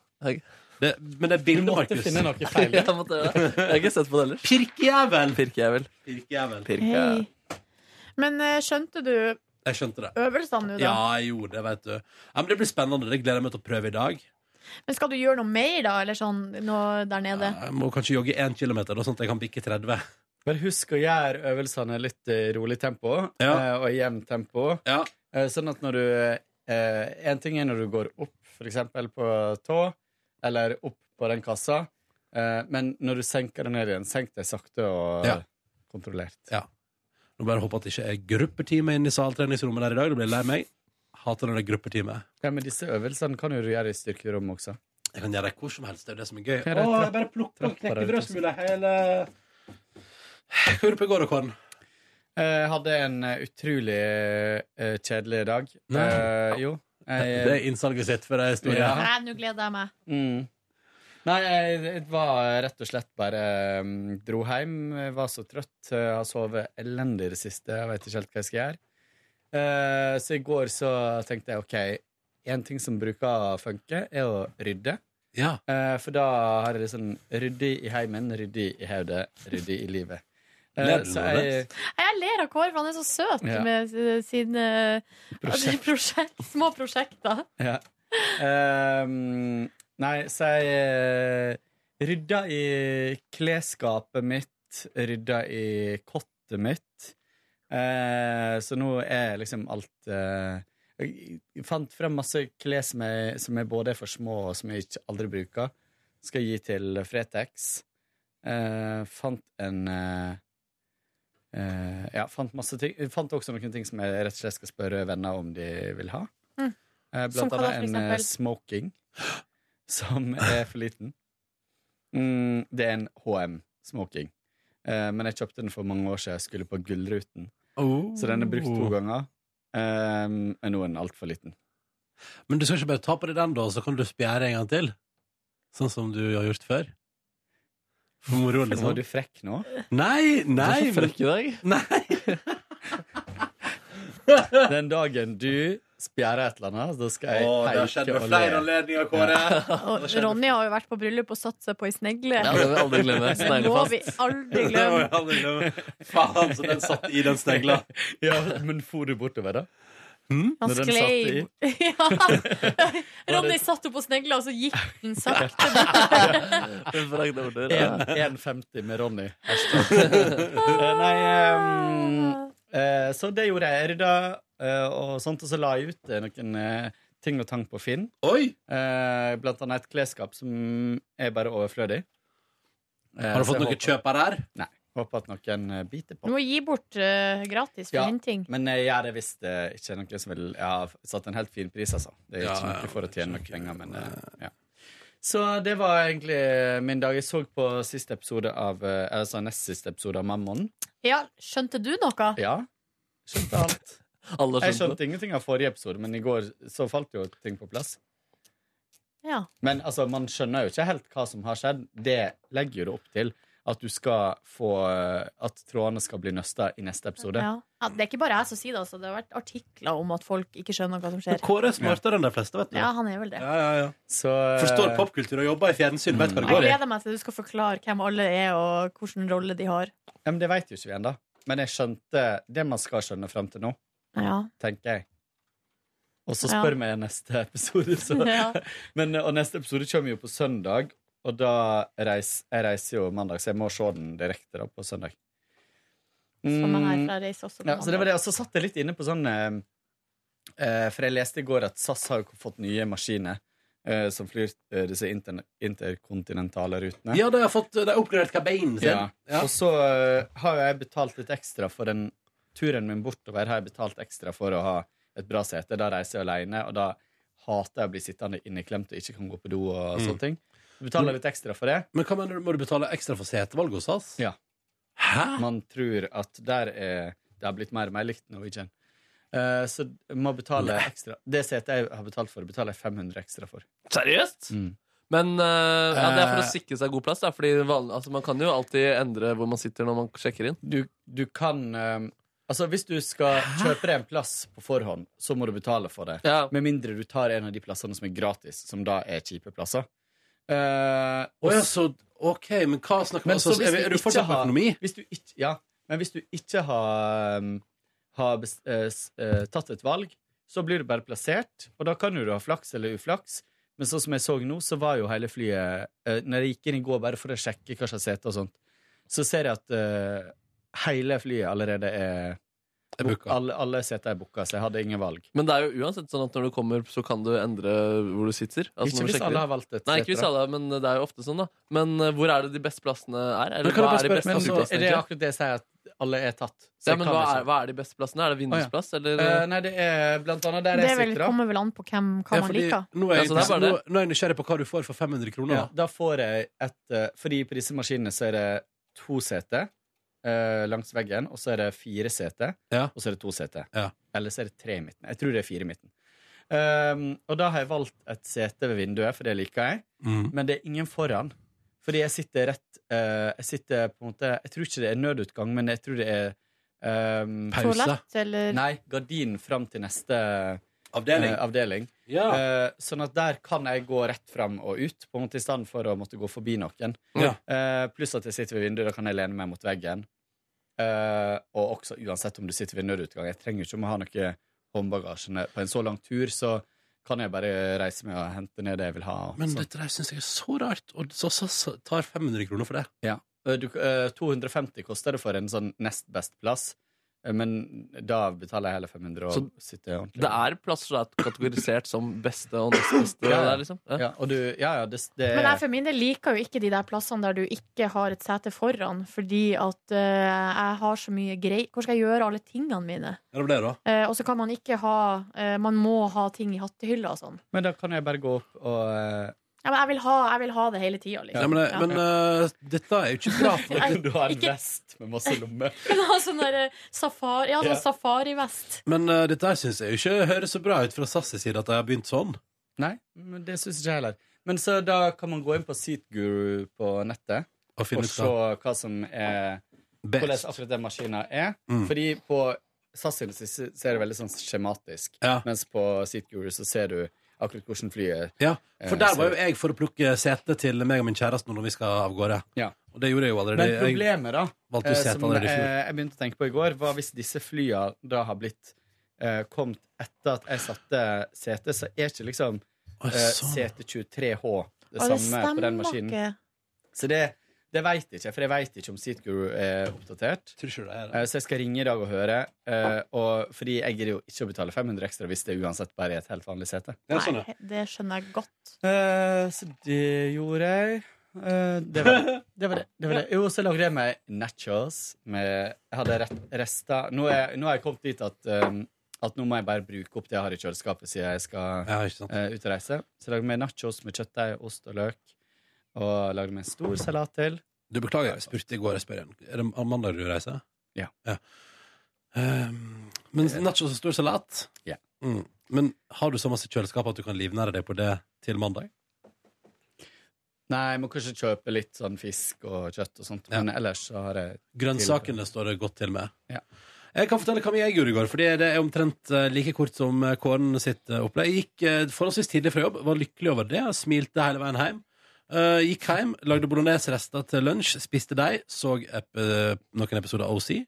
S2: Det, men det er bilde, Markus.
S4: finne noe feil. Ja, måtte gjøre det. Jeg har ikke sett på det ellers.
S2: Pirkejævel!
S4: Pirkejævel.
S2: Pirkejævel.
S3: Hei. Men eh, skjønte du
S2: Jeg skjønte det.
S3: øvelsene nå, da?
S2: Ja, jeg gjorde det, vet du. Ja, men det blir spennende. Det gleder jeg meg til å prøve i dag.
S3: Men skal du gjøre noe mer, da? Eller sånn noe der nede?
S2: Jeg må kanskje jogge 1 km, da, sånn at jeg kan bikke 30.
S9: Bare husk å gjøre øvelsene litt i rolig tempo eh, og i jevnt tempo. Eh, Sånn at når du eh, En ting er når du går opp, for eksempel på tå, eller opp på den kassa, eh, men når du senker deg ned igjen, senk deg sakte og
S2: Ja.
S9: kontrollert.
S2: Ja. Nå bare håper at det ikke er gruppetime inne i saltreningsrommet der i dag. Da blir jeg lei meg. Hater når det er gruppetime.
S9: Ja, men disse øvelsene kan jo du gjøre i styrkerommet også.
S2: Jeg kan gjøre det hvor som helst. Det er det som er gøy.
S9: Her er
S2: Å, jeg
S9: trapp-
S2: bare plukker
S9: trappa der ute.
S2: knekkebrødsmuler hele Hva gjorde du på i går, Kåren?
S9: Eh, hadde en eh, utrolig eh, kjedelig dag.
S2: Nei.
S9: Eh, jo.
S2: Det er innsalget sitt for ei historie.
S3: Nei, nå gleder jeg meg.
S9: Mm. Nei, jeg jeg var rett og slett bare mm, Dro hjem, jeg var så trøtt. Jeg har sovet elendig i det siste. Jeg vet ikke helt hva jeg skal gjøre. Eh, så i går så tenkte jeg OK, en ting som bruker å funke, er å rydde. Eh, for da har jeg liksom ryddig i heimen, ryddig i hodet, ryddig i livet. Eh,
S2: Ler du
S9: så
S2: av
S9: jeg,
S3: Nei, Jeg ler av Kåre, for han er så søt
S9: Ja.
S3: med eh, sine
S9: Prosjekt.
S3: prosjekt, små prosjekter.
S9: ja. Ehm, nei, så jeg eh, rydda i klesskapet mitt, rydda i kottet mitt. Eh, så nå er liksom alt eh, Jeg fant frem masse klær som er, som er både for små og som jeg ikke aldri bruker. Skal gi til Fretex. Eh, fant en eh, eh, Ja, fant masse ting. Fant også noen ting som jeg rett og slett skal spørre venner om de vil ha.
S3: Mm.
S9: Eh,
S3: Som
S9: Blant
S3: hva da, for
S9: annet en eh,
S3: eksempel?
S9: smoking som er for liten. Mm, det er en HM-smoking. Eh, men jeg kjøpte den for mange år siden jeg skulle på Gullruten.
S2: Oh.
S9: Så den er brukt to ganger. Eh, men nå er den altfor liten.
S2: Men du skal ikke bare ta på deg den, da, så kan du spjære en gang til? Sånn som du har gjort før? For moro, liksom.
S9: Var du frekk nå?
S2: Nei, nei.
S9: Du er så frekk i
S2: dag. Nei.
S9: Den dagen du spjærer et eller annet, da skal
S2: Å,
S9: jeg
S2: det har
S9: peike
S2: skjedd ved
S9: og
S2: flere
S9: le.
S2: anledninger, Kåre.
S3: Og Ronny har jo vært på bryllup og satt seg på ei snegle.
S9: Ja, det vil jeg aldri glemme.
S3: Det må vi aldri glemme.
S2: Det må vi aldri glemme. Faen, så den satt i den snegla.
S9: ja, men for du bortover, da?
S3: Han
S9: Når den satt i?
S3: sklei. Ja. Ronny satt opp på snegla, og så gikk den sakte.
S9: En- 1,50 med Ronny. Hashtag. Eh, Nei ehm, eh, Så det gjorde jeg. Jeg rydda eh, og sånt, og så la jeg ut eh, noen eh, ting og tang på Finn. Eh, Blant annet et klesskap som er bare overflødig. Eh,
S2: Har du
S9: så
S2: fått
S9: jeg
S2: noen
S9: håper-
S2: kjøpere her?
S9: Nei. Håper at noen eh, biter på.
S3: Du må gi bort eh, gratis for
S9: Ja,
S3: henting.
S9: Men jeg gjør det hvis det ikke er noen som vil Jeg har satt en helt fin pris, altså. Det er
S2: Ja,
S9: ikke
S2: ja,
S9: noe for å tjene noe penger, men eh, ja. Så det var egentlig min dag. Jeg så på siste episode av eh, Altså nest siste episode av Mammon.
S3: Ja, skjønte du noe?
S9: Ja. Skjønte alt.
S4: Alle skjønte
S9: jeg skjønte ingenting av forrige episode, men i går så falt jo ting på plass.
S3: Ja.
S9: Men altså, man skjønner jo ikke helt hva som har skjedd. Det legger jo det opp til at du skal få eh, At trådene skal bli nøsta i neste episode.
S3: Ja. Ja, det er ikke bare jeg som sier det, altså. Det har vært artikler om at folk ikke skjønner hva som skjer.
S2: Kåre er smartere enn de fleste, vet du.
S3: Ja, han er vel det.
S9: eh,
S2: Forstår popkultur og jobber i fjernsyn, vet hva det
S3: Jeg
S2: går i.
S3: gleder meg til du skal forklare hvem alle er, og hvilken rolle de har.
S9: Ja, men det vet jo ikke vi ennå. Men jeg skjønte det man skal skjønne fram til nå,
S3: Ja.
S9: tenker jeg. Og så
S3: Ja.
S9: spør vi i neste episode. Så.
S3: Ja.
S9: Men, og neste episode kommer jo på søndag, og da reis, jeg reiser jo mandag, så jeg må se den direkte da på søndag.
S3: Som er her
S9: Mm,
S3: fra Reis også. på
S9: ja, så det
S3: mandag.
S9: var det. Og så satt jeg litt inne på sånn eh, eh, For jeg leste i går at SAS har jo fått nye maskiner eh, som flyr eh, disse interne- interkontinentale
S3: Mm.
S9: rutene.
S2: Ja, de har fått de har oppgradert kabinen sin.
S9: Ja. Og så eh, har jo jeg betalt litt ekstra for den turen min bortover. Har jeg betalt ekstra for å ha et bra sete. Da reiser jeg alene, og da hater jeg å bli sittende inneklemt og ikke kan gå på do og
S2: Mm.
S9: sånne ting. Du betaler litt ekstra for det.
S2: Men hva mener du, må du betale ekstra for setevalg hos oss?
S9: Ja. Man tror at der er Det har blitt mer og mer likt Norwegian. Eh, så jeg må betale ekstra. Det setet jeg har betalt for, betaler jeg 500 ekstra for.
S4: Seriøst?
S9: Mm.
S4: Men eh, ja, det er for å
S9: Eh.
S4: sikre seg god plass. Da, fordi van- altså, man kan jo alltid endre hvor man sitter når man sjekker inn.
S9: Du, du kan eh, Altså Hvis du skal kjøpe deg en plass på forhånd, så må du betale for det. Med mindre du tar en av de plassene som er gratis, som da er kjipe plasser. Eh,
S2: Å ja, så OK, men hva snakker vi
S9: men
S2: om? Er,
S9: så hvis
S2: vi- er
S9: du
S2: du fortsatt på
S9: ikke har-
S2: økonomi?
S9: Hvis du ikke, ja, men hvis du ikke har, um, har bes- eh, s- eh, tatt et valg, så blir du bare plassert, og da kan jo du ha flaks eller uflaks. Men sånn som jeg så nå, så var jo hele flyet eh, Når jeg gikk inn i går bare for å sjekke hva slags sete og sånt, så ser jeg at eh, hele flyet allerede er booka. Alle, alle seter er booka, så jeg hadde ingen valg.
S4: Men det er jo uansett sånn at når du kommer, så kan du endre hvor du sitter.
S2: Altså,
S4: Altså, når
S9: Ikke
S4: du
S9: hvis
S4: sjekker
S9: alle
S4: inn.
S9: har valgt et
S4: Nei,
S9: sete,
S4: ikke hvis
S9: da.
S4: alle, men det er jo ofte sånn, da. Men eh, hvor er det de beste plassene er?
S9: Men
S4: Eller
S9: kan
S4: hva
S9: jeg
S4: er
S9: bare
S4: de
S9: spørre,
S4: beste
S9: men,
S4: plassene?
S9: er det
S4: egentlig?
S9: akkurat det jeg sier, at alle er tatt? Så
S4: Ja,
S9: jeg
S4: men
S9: kan
S4: hva
S9: ikke.
S4: er, hva er de beste plassene? Er det vindusplass, eller?
S9: Eh, nei, det er blant annet der
S3: Det
S9: jeg
S3: vel,
S9: sitter. da.
S3: kommer vel an på hvem hva man liker.
S2: nå, er jeg,
S9: Ja, så det er bare
S2: nå,
S9: det.
S2: nå er jeg nysgjerrig på hva du får for 500 kroner.
S9: Ja, da får jeg et eh, Fordi på disse maskinene så er det to seter. eh, langs veggen, og så er det fire seter, og så er det to seter. Eller så er det tre i midten. Jeg tror det er fire i midten. Ehm, og da har jeg valgt et sete ved vinduet, for det liker jeg.
S2: Mm.
S9: Men det er ingen foran. Fordi jeg sitter rett eh, Jeg sitter på en måte Jeg tror ikke det er nødutgang, men jeg tror det er ehm,
S3: Toalett, eller?
S9: Nei, gardinen fram til neste
S2: Avdeling.
S9: eh, avdeling.
S2: Ja.
S9: Eh, sånn at der kan jeg gå rett fram og ut, på en måte i stedet for å måtte gå forbi noen.
S2: Ja.
S9: Eh, pluss at jeg sitter ved vinduet, da kan jeg lene meg mot veggen. Eh, og også uansett om du sitter ved nødutgang. Jeg trenger ikke om å ha noe håndbagasje. ned. På en så lang tur så kan jeg bare reise meg og hente ned det jeg vil ha. og
S2: Men
S9: sånn.
S2: dette der syns jeg er så rart, og så, så, så tar 500 kroner for det.
S9: Ja. Eh, Du, eh, 250 koster det for en sånn nest best plass, eh, men da betaler jeg heller 500 og
S4: Så
S9: sitter ordentlig.
S4: Det er plasser som er kategorisert som beste og nest beste.
S9: Ja, ja.
S4: Der, liksom.
S9: ja, og du, ja, ja, det, det
S3: Men jeg for min del liker jo ikke de der plassene der du ikke har et sete foran, fordi at eh, jeg har så mye grei Hvor skal jeg gjøre alle tingene mine?
S2: Ja, det ble det, da.
S3: Eh, og så kan man ikke ha eh, Man må ha ting i hattehylla og sånn.
S9: Men da kan jeg bare gå opp og eh,
S3: Ja, men jeg vil ha, jeg vil ha det hele tida, liksom.
S2: Ja, men det-
S3: Ja.
S2: men eh, dette er jo ikke bra. For
S9: Du har en vest med masse lommer.
S3: Men ha sånn der eh, safari, ja, sånn
S2: Ja.
S3: safarivest.
S2: Men eh, dette her syns jeg jo ikke høres så bra ut fra SAS' side, at de har begynt sånn.
S9: Nei, men det syns ikke jeg heller. Men så da kan man gå inn på Seatguru på nettet
S2: Og finne ut
S9: se hva som er
S2: Best.
S9: Hvordan akkurat den maskinen er.
S2: Mm.
S9: Fordi på SAS sin side så er det veldig sånn skjematisk, mens på Seatguru så ser du akkurat hvordan flyet
S2: Ja, For
S9: eh,
S2: der
S9: ser
S2: var
S9: ut.
S2: jo jeg for å plukke sete til meg og min kjæreste nå når vi skal av gårde.
S9: Ja.
S2: Og det gjorde jeg jo allerede.
S9: Men problemet, da,
S2: Jeg valgte
S9: eh,
S2: jo sete
S9: som
S2: allerede i
S9: eh,
S2: fjor.
S9: jeg begynte å tenke på i går, var hvis disse flya da har blitt eh, kommet etter at jeg satte sete, så er ikke liksom
S2: Å,
S9: eh,
S2: sånn.
S9: sete 23H det
S3: Å, det
S9: samme på den
S3: stemmer
S9: maskinen.
S3: ikke.
S9: Så det, det veit ikke jeg, for jeg veit ikke om Seatguru er oppdatert. Eh, Så jeg skal ringe i dag og høre, eh, og, fordi jeg gidder jo ikke å betale 500 ekstra hvis det uansett bare er et helt vanlig sete.
S3: Nei, det skjønner jeg godt.
S9: Eh, så det gjorde jeg. Eh, det var det. Det var det. det, var det. Jo, så lagde jeg meg nachos. Med, jeg hadde rett- rester nå, er- nå har jeg kommet dit at, um, at nå må jeg bare bruke opp det jeg har i kjøleskapet, siden jeg skal eh, ut og reise. Så jeg lagde meg nachos med kjøttdeig, ost og løk. Og lagde meg en stor salat til.
S2: Du beklager, jeg spurte i går. Jeg spør igjen. Er det mandag du reiser?
S9: Ja.
S2: Ehm, men nachos og stor salat?
S9: Ja.
S2: Mm. Men har du så masse kjøleskap at du kan livnære deg på det til mandag?
S9: Nei, jeg må kanskje kjøpe litt sånn fisk og kjøtt og sånt, men ellers så har jeg
S2: Grønnsakene står det godt til med.
S9: Ja.
S2: Jeg kan fortelle hva jeg gjorde i går, Fordi det er omtrent eh, like kort som eh, Kåren sitt eh, opplegg. Jeg gikk eh, forholdsvis tidlig fra jobb, var lykkelig over det, smilte hele veien hjem. Eh, gikk hjem, lagde bolognese-rester til lunsj, spiste deg, så ep eh, noen episoder av OC.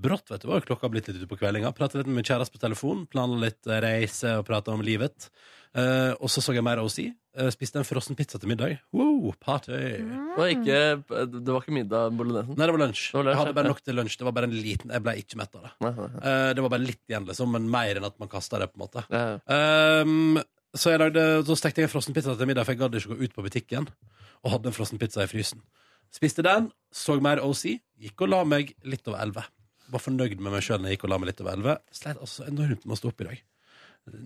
S2: Brått vet du, var jo klokka blitt litt ute på kveldinga. Pratet litt med kjæresten på telefon, planla litt eh, reise og prata om livet. Eh, og så så jeg mer OC. eh, spiste en frossen pizza til middag. Wow, party!
S4: Og ikke, det var ikke middag bolognesen?
S2: Nei, det var lunsj.
S4: var lunsj,
S2: jeg hadde
S4: ja.
S2: bare nok til lunsj. Det var bare en liten, Jeg ble ikke mett av det. Eh, det var bare litt igjen, liksom, men mer enn at man kasta det. på en måte Ehm, Så jeg lagde, så stekte jeg en frossenpizza til middag, for jeg gadd ikke gå ut på butikken. Og hadde en frossenpizza i frysen. Spiste den, så mer OC, gikk og la meg litt over elleve. Var fornøyd med meg sjøl når jeg gikk og la meg litt over elleve. Sleit altså enormt med å stå opp i dag.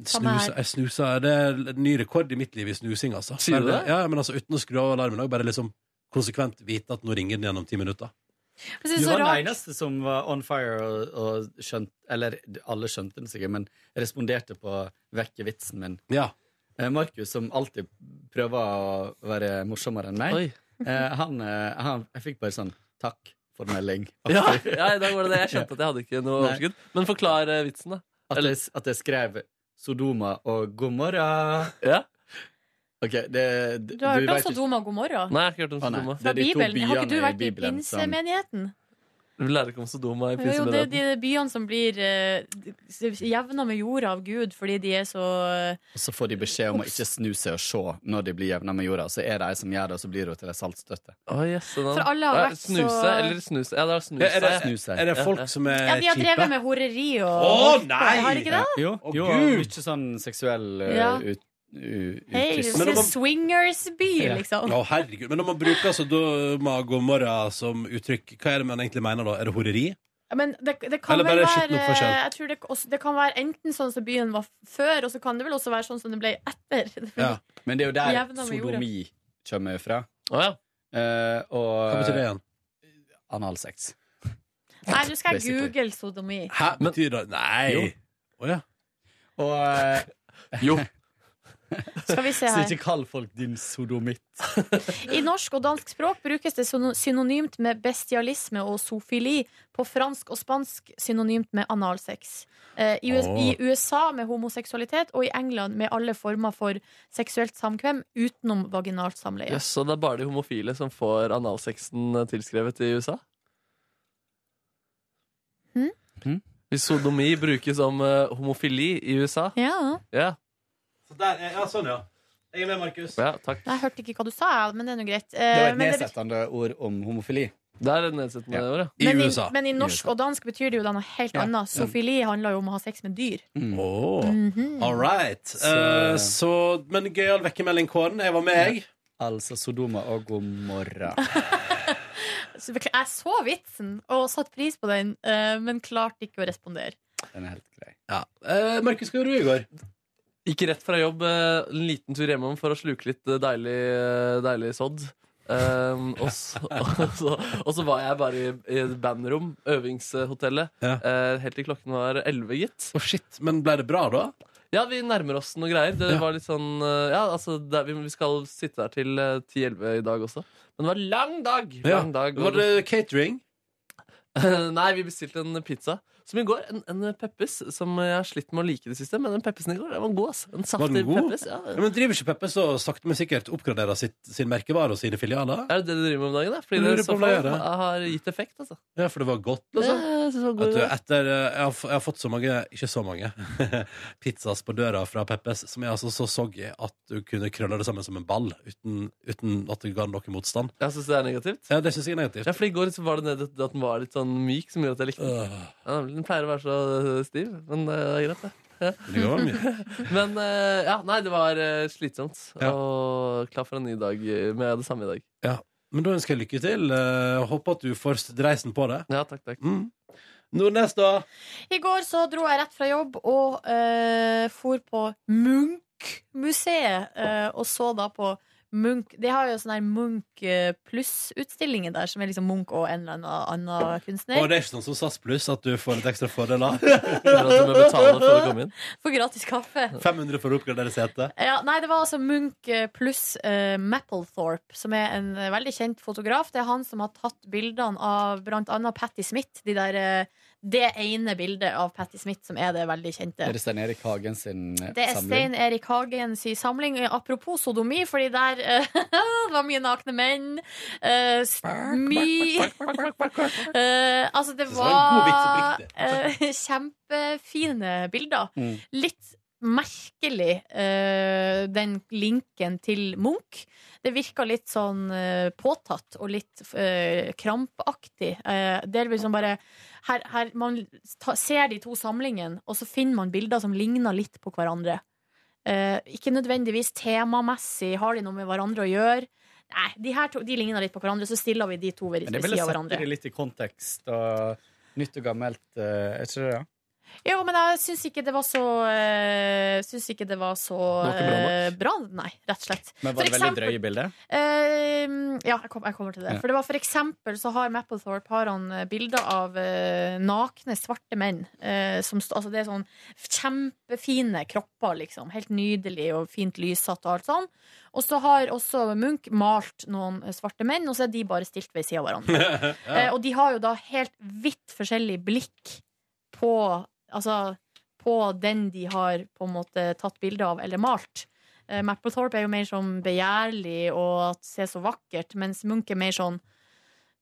S10: Samme her.
S2: Snusa, jeg snusa, det er en ny rekord i mitt liv i snusing, altså.
S10: Sier du det?
S2: Ja, men altså Uten å skru av alarmen òg, bare liksom konsekvent vite at nå ringer den igjen om ti minutter.
S3: Jeg synes
S9: Du
S3: det er
S9: var
S3: så
S9: den
S3: rart.
S9: eneste som var on fire og, og skjønt Eller alle skjønte den sikkert, men responderte på vekkevitsen min. Eh, Markus, som alltid prøver å være morsommere enn meg, eh, han, eh, han Jeg fikk bare sånn takk for melding.
S4: Ja, ja, i dag var det det. Jeg skjønte at jeg hadde ikke noe
S9: Nei.
S4: overskudd. Men forklar eh, vitsen, da.
S9: At jeg, at jeg skrev Sodoma og Gomorra.
S4: Ja.
S9: OK, det, det
S3: Du har hørt om
S9: vet ikke-
S3: Sodoma og Gomorra?
S4: Nei, jeg har ikke hørt om
S9: Å, nei.
S4: Sodoma.
S9: Det er de to
S3: Bibelen. Har ikke du
S9: byene
S3: vært i
S9: Bibelen som-
S3: pinsemenigheten?
S4: Du lærer ikke om Sodoma i
S3: Jo, jo, det er
S4: pinsemenigheten.
S3: de byene som blir eh, jevna med jorda av Gud fordi de er så
S9: Og så får de beskjed om å ikke snu seg og se når de blir jevna med jorda. Og så er det ei som gjør det, og så blir hun til ei saltstøtte.
S3: For alle har
S4: Ja,
S3: vært så-
S4: Snuse, eller snuse. Ja, det var snuse.
S9: Er det- er det folk
S2: som er
S3: Ja, de har drevet med horeri og
S2: Eh, Å, nei!
S3: Har de ikke det?
S9: Jo,
S2: Å,
S9: jo
S2: Gud!
S9: mye sånn seksuell eh,
S3: Ja.
S9: ut, u,
S3: Hei,
S9: utlyst.
S3: det er swingersby,
S2: Ja.
S3: liksom.
S2: Å, herregud. Men når man bruker altså, da, mag og morra som uttrykk, hva er det man egentlig mener da? Er det horeri?
S3: Men det, det kan
S2: Eller
S3: vel
S2: bare
S3: være
S2: skitten opp for selv.
S3: Jeg tror det, også, det kan være enten sånn som byen var før, og så kan det vel også være sånn som det ble etter.
S9: Ja. Men det er jo
S3: Jevna
S9: der
S3: med jorda.
S9: sodomi kommer fra. Eh,
S4: Oh, ja.
S9: og,
S2: Hva betyr det igjen?
S9: Analsex.
S8: Nei, nå skal jeg
S9: Basically.
S8: google sodomi.
S2: Hæ? Betyr det Nei!
S9: Jo.
S2: Å ja.
S9: Og
S4: Jo.
S3: Skal vi se her.
S9: Så eh, ikke kall folk din sodomitt.
S3: I norsk og dansk språk brukes det syno- synonymt med bestialisme og sofili. På fransk og spansk synonymt med analsex. Eh, I US-
S13: Åh.
S3: i USA med homoseksualitet, og i England med alle former for seksuelt samkvem utenom vaginalt samleie.
S4: Jøss, så det er bare de homofile som får analsexen eh, tilskrevet i USA?
S3: Hm?
S4: Hvis sodomi brukes om eh, homofili i USA?
S3: Ja.
S4: Ja,
S2: Så der er, ja, sånn, ja. Jeg er med, Markus.
S4: ja takk.
S3: Jeg hørte ikke hva du sa, men det er nå greit. Eh,
S9: Det var et
S3: men det
S9: nedsettende ord om homofili.
S4: Det er et nedsettende ord,
S3: bet- men, i, men i norsk og dansk betyr det jo da noe helt
S9: Ja.
S3: annet. Sofili handler jo om å ha sex med dyr.
S2: Åh.
S3: Mhm.
S2: All right. Så, så Men gøyal vekkemelding, Kåren. Jeg var med, jeg.
S9: Altså Sodoma og Gomorra.
S3: Så bekl- Jeg så vitsen og satte pris på den, eh, men klarte ikke å respondere.
S9: Den er helt grei.
S2: Ja. Eh, Markus, hva gjorde du i går?
S4: Gikk rett fra jobb, eh, en liten tur hjemom for å sluke litt eh, deilig, eh, deilig sodd. Um, og, så, og, så, og så var jeg bare i, i et bandrom, øvingshotellet, eh, helt til klokken var elleve, gitt.
S2: shit, Men ble det bra, da?
S4: Ja, vi nærmer oss noe greier. Det
S2: Ja.
S4: var litt sånn eh, Ja, altså, det, er- vi, vi skal sitte der til eh, 10-11 i dag også. Men det var en lang dag!
S2: Ja.
S4: Lang dag
S2: Var det catering?
S4: Nei, vi bestilte en pizza. Som i går, en, en Peppes, som jeg har slitt med å like i det siste. Men den Peppesen i går, den var god, ass. En
S2: Var
S4: saftig
S2: den god?
S4: Peppes. Ja.
S2: Ja, men driver ikke Peppes og sakte, men sikkert oppgraderer sitt, sin merkevare og sine filialer?
S4: Er det det du driver med om dagen? da? Fordi
S2: Jeg lurer
S4: det i så
S2: på om det
S4: fall ah,
S2: gjør det.
S4: har gitt effekt, altså. Sånn.
S2: Ja, for det var godt,
S4: Det,
S2: altså.
S4: jeg synes det var
S2: At
S4: god
S2: du,
S4: idé.
S2: etter, eh, jeg, har, f- jeg har fått så mange, ikke så mange, pizzas på døra fra Peppes som er altså så soggy at du kunne krølle det sammen som en ball uten, uten at det ga noe motstand.
S4: Jeg syns det er negativt.
S2: Ja, det synes jeg er negativt.
S4: Ja, for i går så var det ned at den var litt sånn myk, som gjorde at jeg likte den.
S2: Øh.
S4: Ja, den pleier å være så øh, stiv, men øh, det er greit, det. Ja.
S2: Det går vel
S4: men øh, ja, nei, det var øh, slitsomt. Og klar for en ny dag øh, med det samme i dag.
S2: Ja, men da ønsker jeg lykke til. eh, håper at du får dreisen på det.
S4: Ja, takk, takk.
S2: Mm. Nordnes, da?
S3: I går så dro jeg rett fra jobb og uh, for på Munch-museet eh, og så da på Munch De har jo sånn her Munch eh, pluss-utstillinger der, som er liksom Munch og en eller annen annen kunstner.
S2: Og det er ikke sånn som SAS Pluss, at du får litt ekstra fordeler?
S3: For gratis kaffe.
S2: 500 for å oppgradere setet.
S3: Ja, nei, det var altså Munch eh, pluss eh, Mapplethorpe, som er en eh, veldig kjent fotograf. Det er han som har tatt bildene av blant annet Patti Smith. De der, eh, det ene bildet av Patti Smith som er det veldig kjente.
S9: Er det Stein Erik Hagen sin eh,
S3: Det er Stein
S9: samling?
S3: Erik Hagen sin samling. Eh, Apropos sodomi, fordi der eh, det var mye nakne menn. Eh, s- mye Eh, Altså, det
S13: Det var en god
S3: var
S13: vits,
S3: eh, kjempefine bilder.
S13: Mm.
S3: Litt merkelig, eh, den linken til Munch. Det virka litt sånn eh, påtatt og litt eh, krampaktig. Eh, det er liksom bare her, her Man ta, ser de to samlingene, og så finner man bilder som ligner litt på hverandre. Eh, ikke nødvendigvis temamessig, har de noe med hverandre å gjøre? Nei, de her to de ligner litt på hverandre, så stiller vi de to ved
S9: Men det
S3: ved
S9: ville
S3: siden av
S9: sette
S3: hverandre.
S9: det litt i kontekst og nytt og gammelt. eh, Er ikke det det?
S3: Jo, men jeg syns ikke det var så uh, Syns ikke det var så
S9: Det var ikke bra nok?
S3: eh, bra, nei, rett og slett. For
S9: Men var det veldig
S3: eksempel-
S9: drøye bilder?
S3: Eh, ja, jeg, kom, jeg kommer til det.
S9: Ja.
S3: For det var for eksempel så har Mapplethorpe har han eh, bilder av eh, nakne svarte menn. eh, som, st- altså det er sånn kjempefine kropper, liksom. Helt nydelig og fint lyssatt og alt sånn. Og så har også Munch malt noen eh, svarte menn, og så er de bare stilt ved sida av hverandre. Eh, og de har jo da helt vidt forskjellig blikk på Altså på den de har på en måte tatt bilde av eller malt. Eh, Mapplethorpe er jo mer sånn begjærlig og at se så vakkert, mens Munch er mer sånn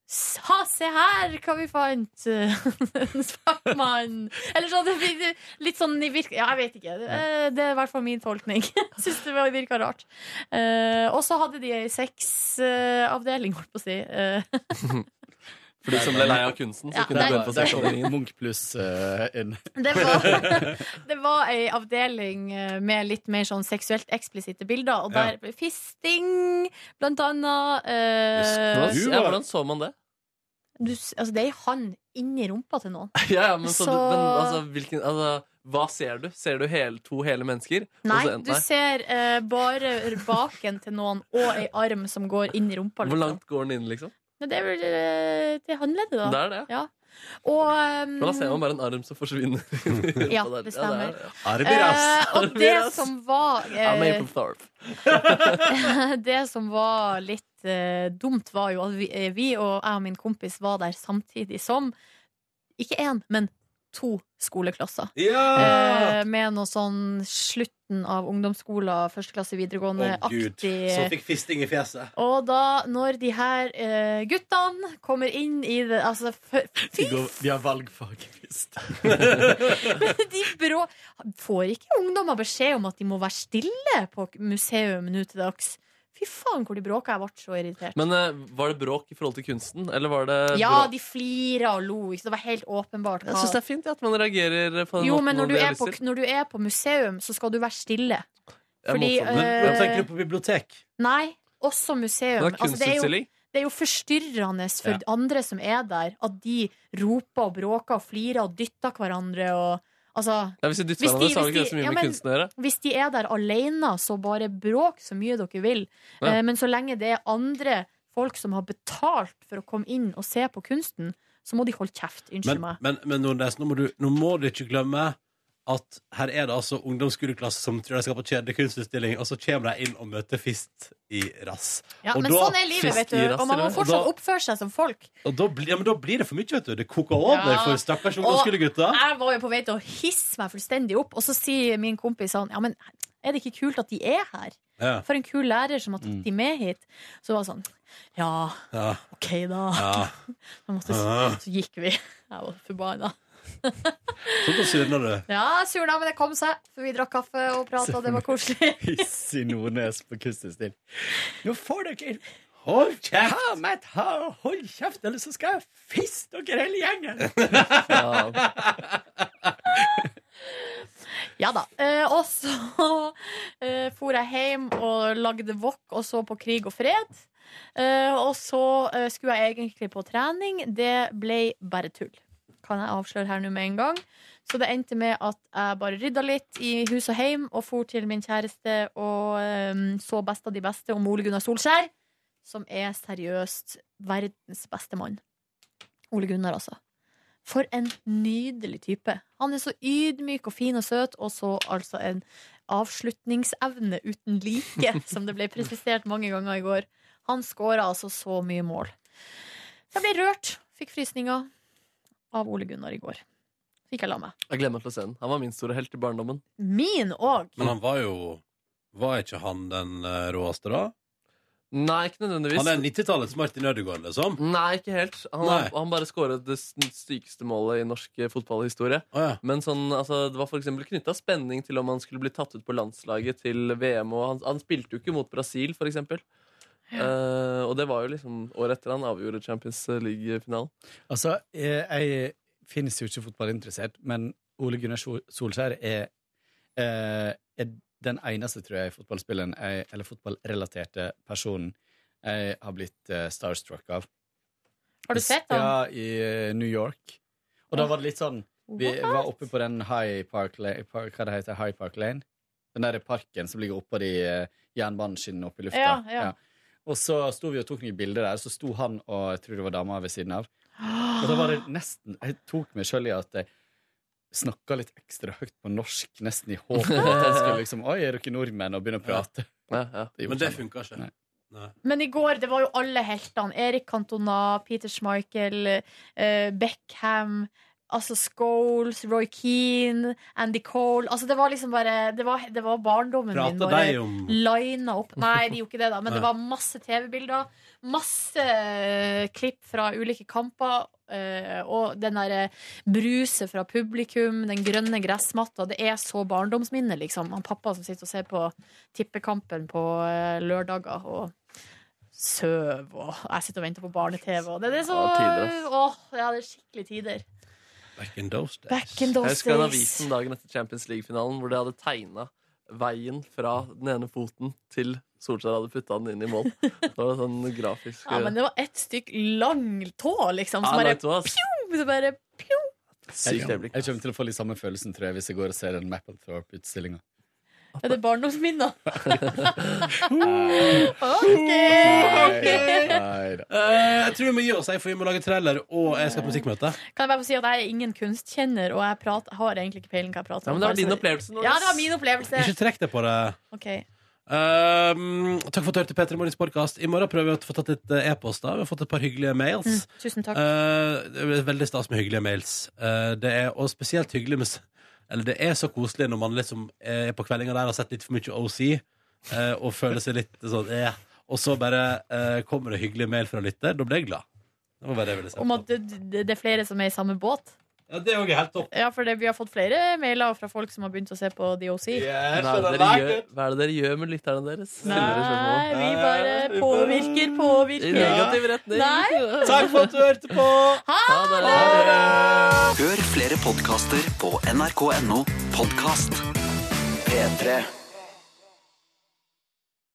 S3: «S- Ha, se her hva vi fant! en svart mann! Eller sånn. Det blir litt sånn i virk... Ja, jeg vet ikke. Eh, Det er i hvert fall min tolkning. Syns det var- virka rart. Eh, og så hadde de ei sexavdeling, holdt på å si. Eh,
S4: For de som ble lei av kunsten, så
S3: Ja,
S4: kunne
S3: nei.
S4: de gå inn
S3: Der
S4: på
S3: kom
S4: sexavdelingen.
S9: Munch pluss eh, inn.
S3: Det var, det var ei avdeling eh, med litt mer sånn seksuelt eksplisitte bilder, og
S4: Ja.
S3: der fisting, blant annet. eh,
S4: Hvordan, ja, hvordan så man det?
S3: du, s- altså, det er ei hand inni rumpa til noen.
S4: Ja, ja, men så,
S3: Så-
S4: du- men, altså, hvilken, altså, hva ser du? Ser du hele, to hele mennesker? Og
S3: Nei,
S4: så en-
S3: du ser eh, bare baken til noen og ei arm som går inn i rumpa.
S4: Hvor
S3: Liksom.
S4: langt går den inn, liksom?
S3: Men det er vel eh, til håndleddet, da.
S4: Det er det.
S3: Ja. Og um,
S4: Men da ser man bare en arm som forsvinner.
S3: Ja, det stemmer. Eh, og
S4: Arbeid,
S3: det som var
S4: I'm
S3: eh,
S4: April Thorpe.
S3: det som var litt eh, dumt, var jo at vi, eh, vi og jeg og min kompis var der samtidig som ikke én, men to skoleklasser.
S2: Ja!
S3: Eh, med noe sånn slutten av ungdomsskolen, første klasse videregående,
S2: Å, gud. Som fikk fisting i fjeset.
S3: og da, når de her eh, guttene kommer inn i det Altså, f-
S9: De, går, de har valgfag, visst.
S3: de brå Får ikke ungdommer beskjed om at de må være stille på museum nå til dags? Fy faen, hvor de bråka. Jeg ble så irritert.
S4: Men eh, var det bråk i forhold til kunsten, eller var det
S3: ja,
S4: bråk?
S3: de flira og lo. Ikke? sant? Det var helt åpenbart.
S4: Jeg syns det er fint ja, at man reagerer på den
S3: jo,
S4: måten
S3: men
S4: man
S3: når du,
S4: blir
S3: er
S4: lyst
S3: på,
S4: til.
S3: når du er på museum, så skal du være stille.
S4: Jeg må
S3: Fordi
S4: få- Men-
S3: eh,
S2: Men tenker du på bibliotek?
S3: Nei, også museum.
S2: Det er
S3: Altså, det, er jo,
S2: kunstutstilling.
S3: det er jo forstyrrende for
S2: Ja.
S3: andre som er der, at de roper og bråker og flirer og dytter hverandre og Altså
S4: Ja, hvis de dytter hverandre, så har det ikke
S3: hvis
S4: så mye med
S3: men
S4: kunsten å gjøre.
S3: Hvis de er der alene, så bare bråk så mye dere vil.
S4: Ja.
S3: Eh, Men så lenge det er andre folk som har betalt for å komme inn og se på kunsten, så må de holde kjeft. Unnskyld
S2: Men,
S3: meg.
S2: men, men Nordnes, nå må, du, nå må du ikke glemme at her er det altså ungdomsskoleklasse som tror de skal på kjedelig kunstutstilling, og så kommer de inn og møter fist i rass.
S3: Ja,
S2: og
S3: men
S2: da-
S3: sånn er livet,
S2: fist
S3: vet du.
S2: i rass,
S3: Og man må
S2: og da-
S3: fortsatt oppføre seg som folk.
S2: Og da, blir- ja, men da blir det for mye, vet du. Det koker over
S3: Ja.
S2: for stakkars
S3: Og
S2: ungdomsskolegutter.
S3: Jeg var jo på vei til å hisse meg fullstendig opp, og så sier min kompis sånn Ja, men er det ikke kult at de er her?
S2: Ja.
S3: For en kul lærer som har tatt
S2: Mm.
S3: de med hit. Så var det sånn Ja,
S2: Ja.
S3: OK, da.
S2: Ja. Ah.
S3: Så, måtte,
S2: Ja.
S3: så gikk vi. Jeg var forbanna.
S2: Så da surner du.
S3: Ja, surna, men det kom seg. For vi drakk kaffe og prata, og det var koselig.
S9: Hissig Nordnes på kunstutstilling. Nå får dere
S2: Hold kjeft!
S9: Ha meg et ha- hold kjeft, eller så skal jeg fiste dere hele gjengen!
S3: Ja da. Eh, og så eh, for jeg hjem og lagde wok og så på Krig og fred. Eh, og så eh, skulle jeg egentlig på trening. Det ble bare tull. Kan jeg avsløre her nå med en gang. Så det endte med at jeg bare rydda litt i hus og heim og for til min kjæreste og eh, så Best av de beste om Ole Gunnar Solskjær, som er seriøst verdens beste mann. Ole Gunnar, altså. For en nydelig type. Han er så ydmyk og fin og søt, og så altså en avslutningsevne uten like, som det ble presisert mange ganger i går. Han skåra altså så mye mål. Så jeg ble rørt. Fikk frysninger av Ole Gunnar i går. Så gikk jeg og la meg.
S4: Jeg glemmer til å se den. Han var min store helt i barndommen.
S3: Min òg!
S2: Men han var jo Var ikke han den eh, råeste, da?
S4: Nei, ikke nødvendigvis.
S2: Han er 90-tallets Martin Ødegaard, liksom?
S4: Nei, ikke helt. Han,
S2: Nei.
S4: han bare skåret det s- sykeste målet i norsk eh, fotballhistorie. Men sånn, altså, det var for eksempel knytta spenning til om han skulle bli tatt ut på landslaget til VM. Og han, han spilte jo ikke mot Brasil, for eksempel. Eh, og det var jo liksom året etter han avgjorde Champions League-finalen.
S9: Altså, jeg, jeg finnes jo ikke fotballinteressert, men Ole Gunnar Sol- Solskjær er, eh, er den eneste, tror jeg, fotballspilleren jeg, eller fotballrelaterte personen jeg har blitt eh, starstruck av.
S3: Har du sett
S9: den?
S3: han?
S9: Ja, i eh, New York. Og da var det litt sånn Vi var oppe på den High Park Lane park, Hva det heter High Park Lane? Den der parken som ligger oppå de eh, jernbaneskinnene oppe i lufta.
S3: Ja, ja.
S9: Og så sto vi og tok noen bilder der, så sto han og jeg tror det var dama ved siden av. Og da
S2: Ah.
S9: var det nesten Jeg tok meg sjøl i at jeg snakka litt ekstra høyt på norsk, nesten i håp om at han skulle liksom Oi, er dere nordmenn? Og begynne å prate.
S2: Men det funka ikke.
S3: Men i går, det var jo alle heltene. Erik Cantona, Peter Schmeichel, eh, Beckham, altså Scholes, Roy Keane, Andy Cole. Altså det var liksom bare Det var, det var barndommen min.
S2: Prata
S3: bare
S2: de om-
S3: Lina opp. Nei, de gjorde ikke det, da. Men det
S2: Nei.
S3: var masse TV-bilder. Masse eh, klipp fra ulike kamper. eh, og den derre bruset fra publikum, den grønne gressmatta. Det er så barndomsminne, liksom. Han pappa som sitter og ser på tippekampen på eh, lørdager. og Søv og jeg sitter og venter på barne-TV. Og det, det er så
S4: Ja, tider, ass.
S3: Åh, ja, det er skikkelig tider.
S2: Back in those days.
S3: Back in
S4: Jeg
S3: those
S4: husker den
S3: days.
S4: avisen dagen etter Champions League-finalen hvor de hadde tegna veien fra den ene foten til Solskjær hadde putta den inn i mål. Det var sånn grafisk
S3: Ja, men det var ett stykk lang tå, liksom. Som
S9: Ja,
S3: bare
S9: lang tå, ass.
S3: pjong! Så bare pjong!
S2: altså.
S9: Jeg, jeg kommer til å få litt samme følelsen, tror jeg, hvis jeg går og ser den Mapplethorpe-utstillinga.
S3: Er det barndomsminner?
S2: Nei.
S3: OK!
S2: Nei da. Eh, jeg tror vi må gi oss, jeg, for vi må lage trailer, og jeg skal på musikkmøte.
S3: Kan jeg bare få si at jeg er ingen kunstkjenner, og jeg prater, har egentlig ikke peiling hva jeg prater om.
S2: Ja, men det var
S3: Bare så-
S2: din opplevelse, Nordnes.
S3: Ja, det var min opplevelse.
S2: Ikke trekk deg på det.
S3: Ok.
S2: Um, takk for at du hørte Petter i Morgens podcast. I morgen prøver vi å få tatt litt eh, e-post. da. Vi har fått et par hyggelige mails.
S3: Mm, tusen takk.
S2: Eh, det er veldig stas med hyggelige mails. Eh, det er, og spesielt hyggelig med s- Eller det er så koselig når man liksom er på kveldinga der og har sett litt for mye OC eh, og føler seg litt sånn eh. Og så bare eh, kommer det hyggelig mail fra lytter. Da blir jeg glad. Det var bare det jeg ville si.
S3: Om at det, det- det er flere som er i samme båt.
S2: Ja, det er jo helt topp.
S3: Ja, for det, vi har fått flere mailer fra folk som har begynt å se på DOC.
S4: Hva er, det dere gjør, hva er det dere gjør med lytterne deres?
S3: Nei, vi bare påvirker,
S4: I
S3: påvirker.
S4: negativ retning.
S3: Nei.
S2: Takk for at du hørte på.
S13: Hør flere podkaster på nrk.no podkast. P3.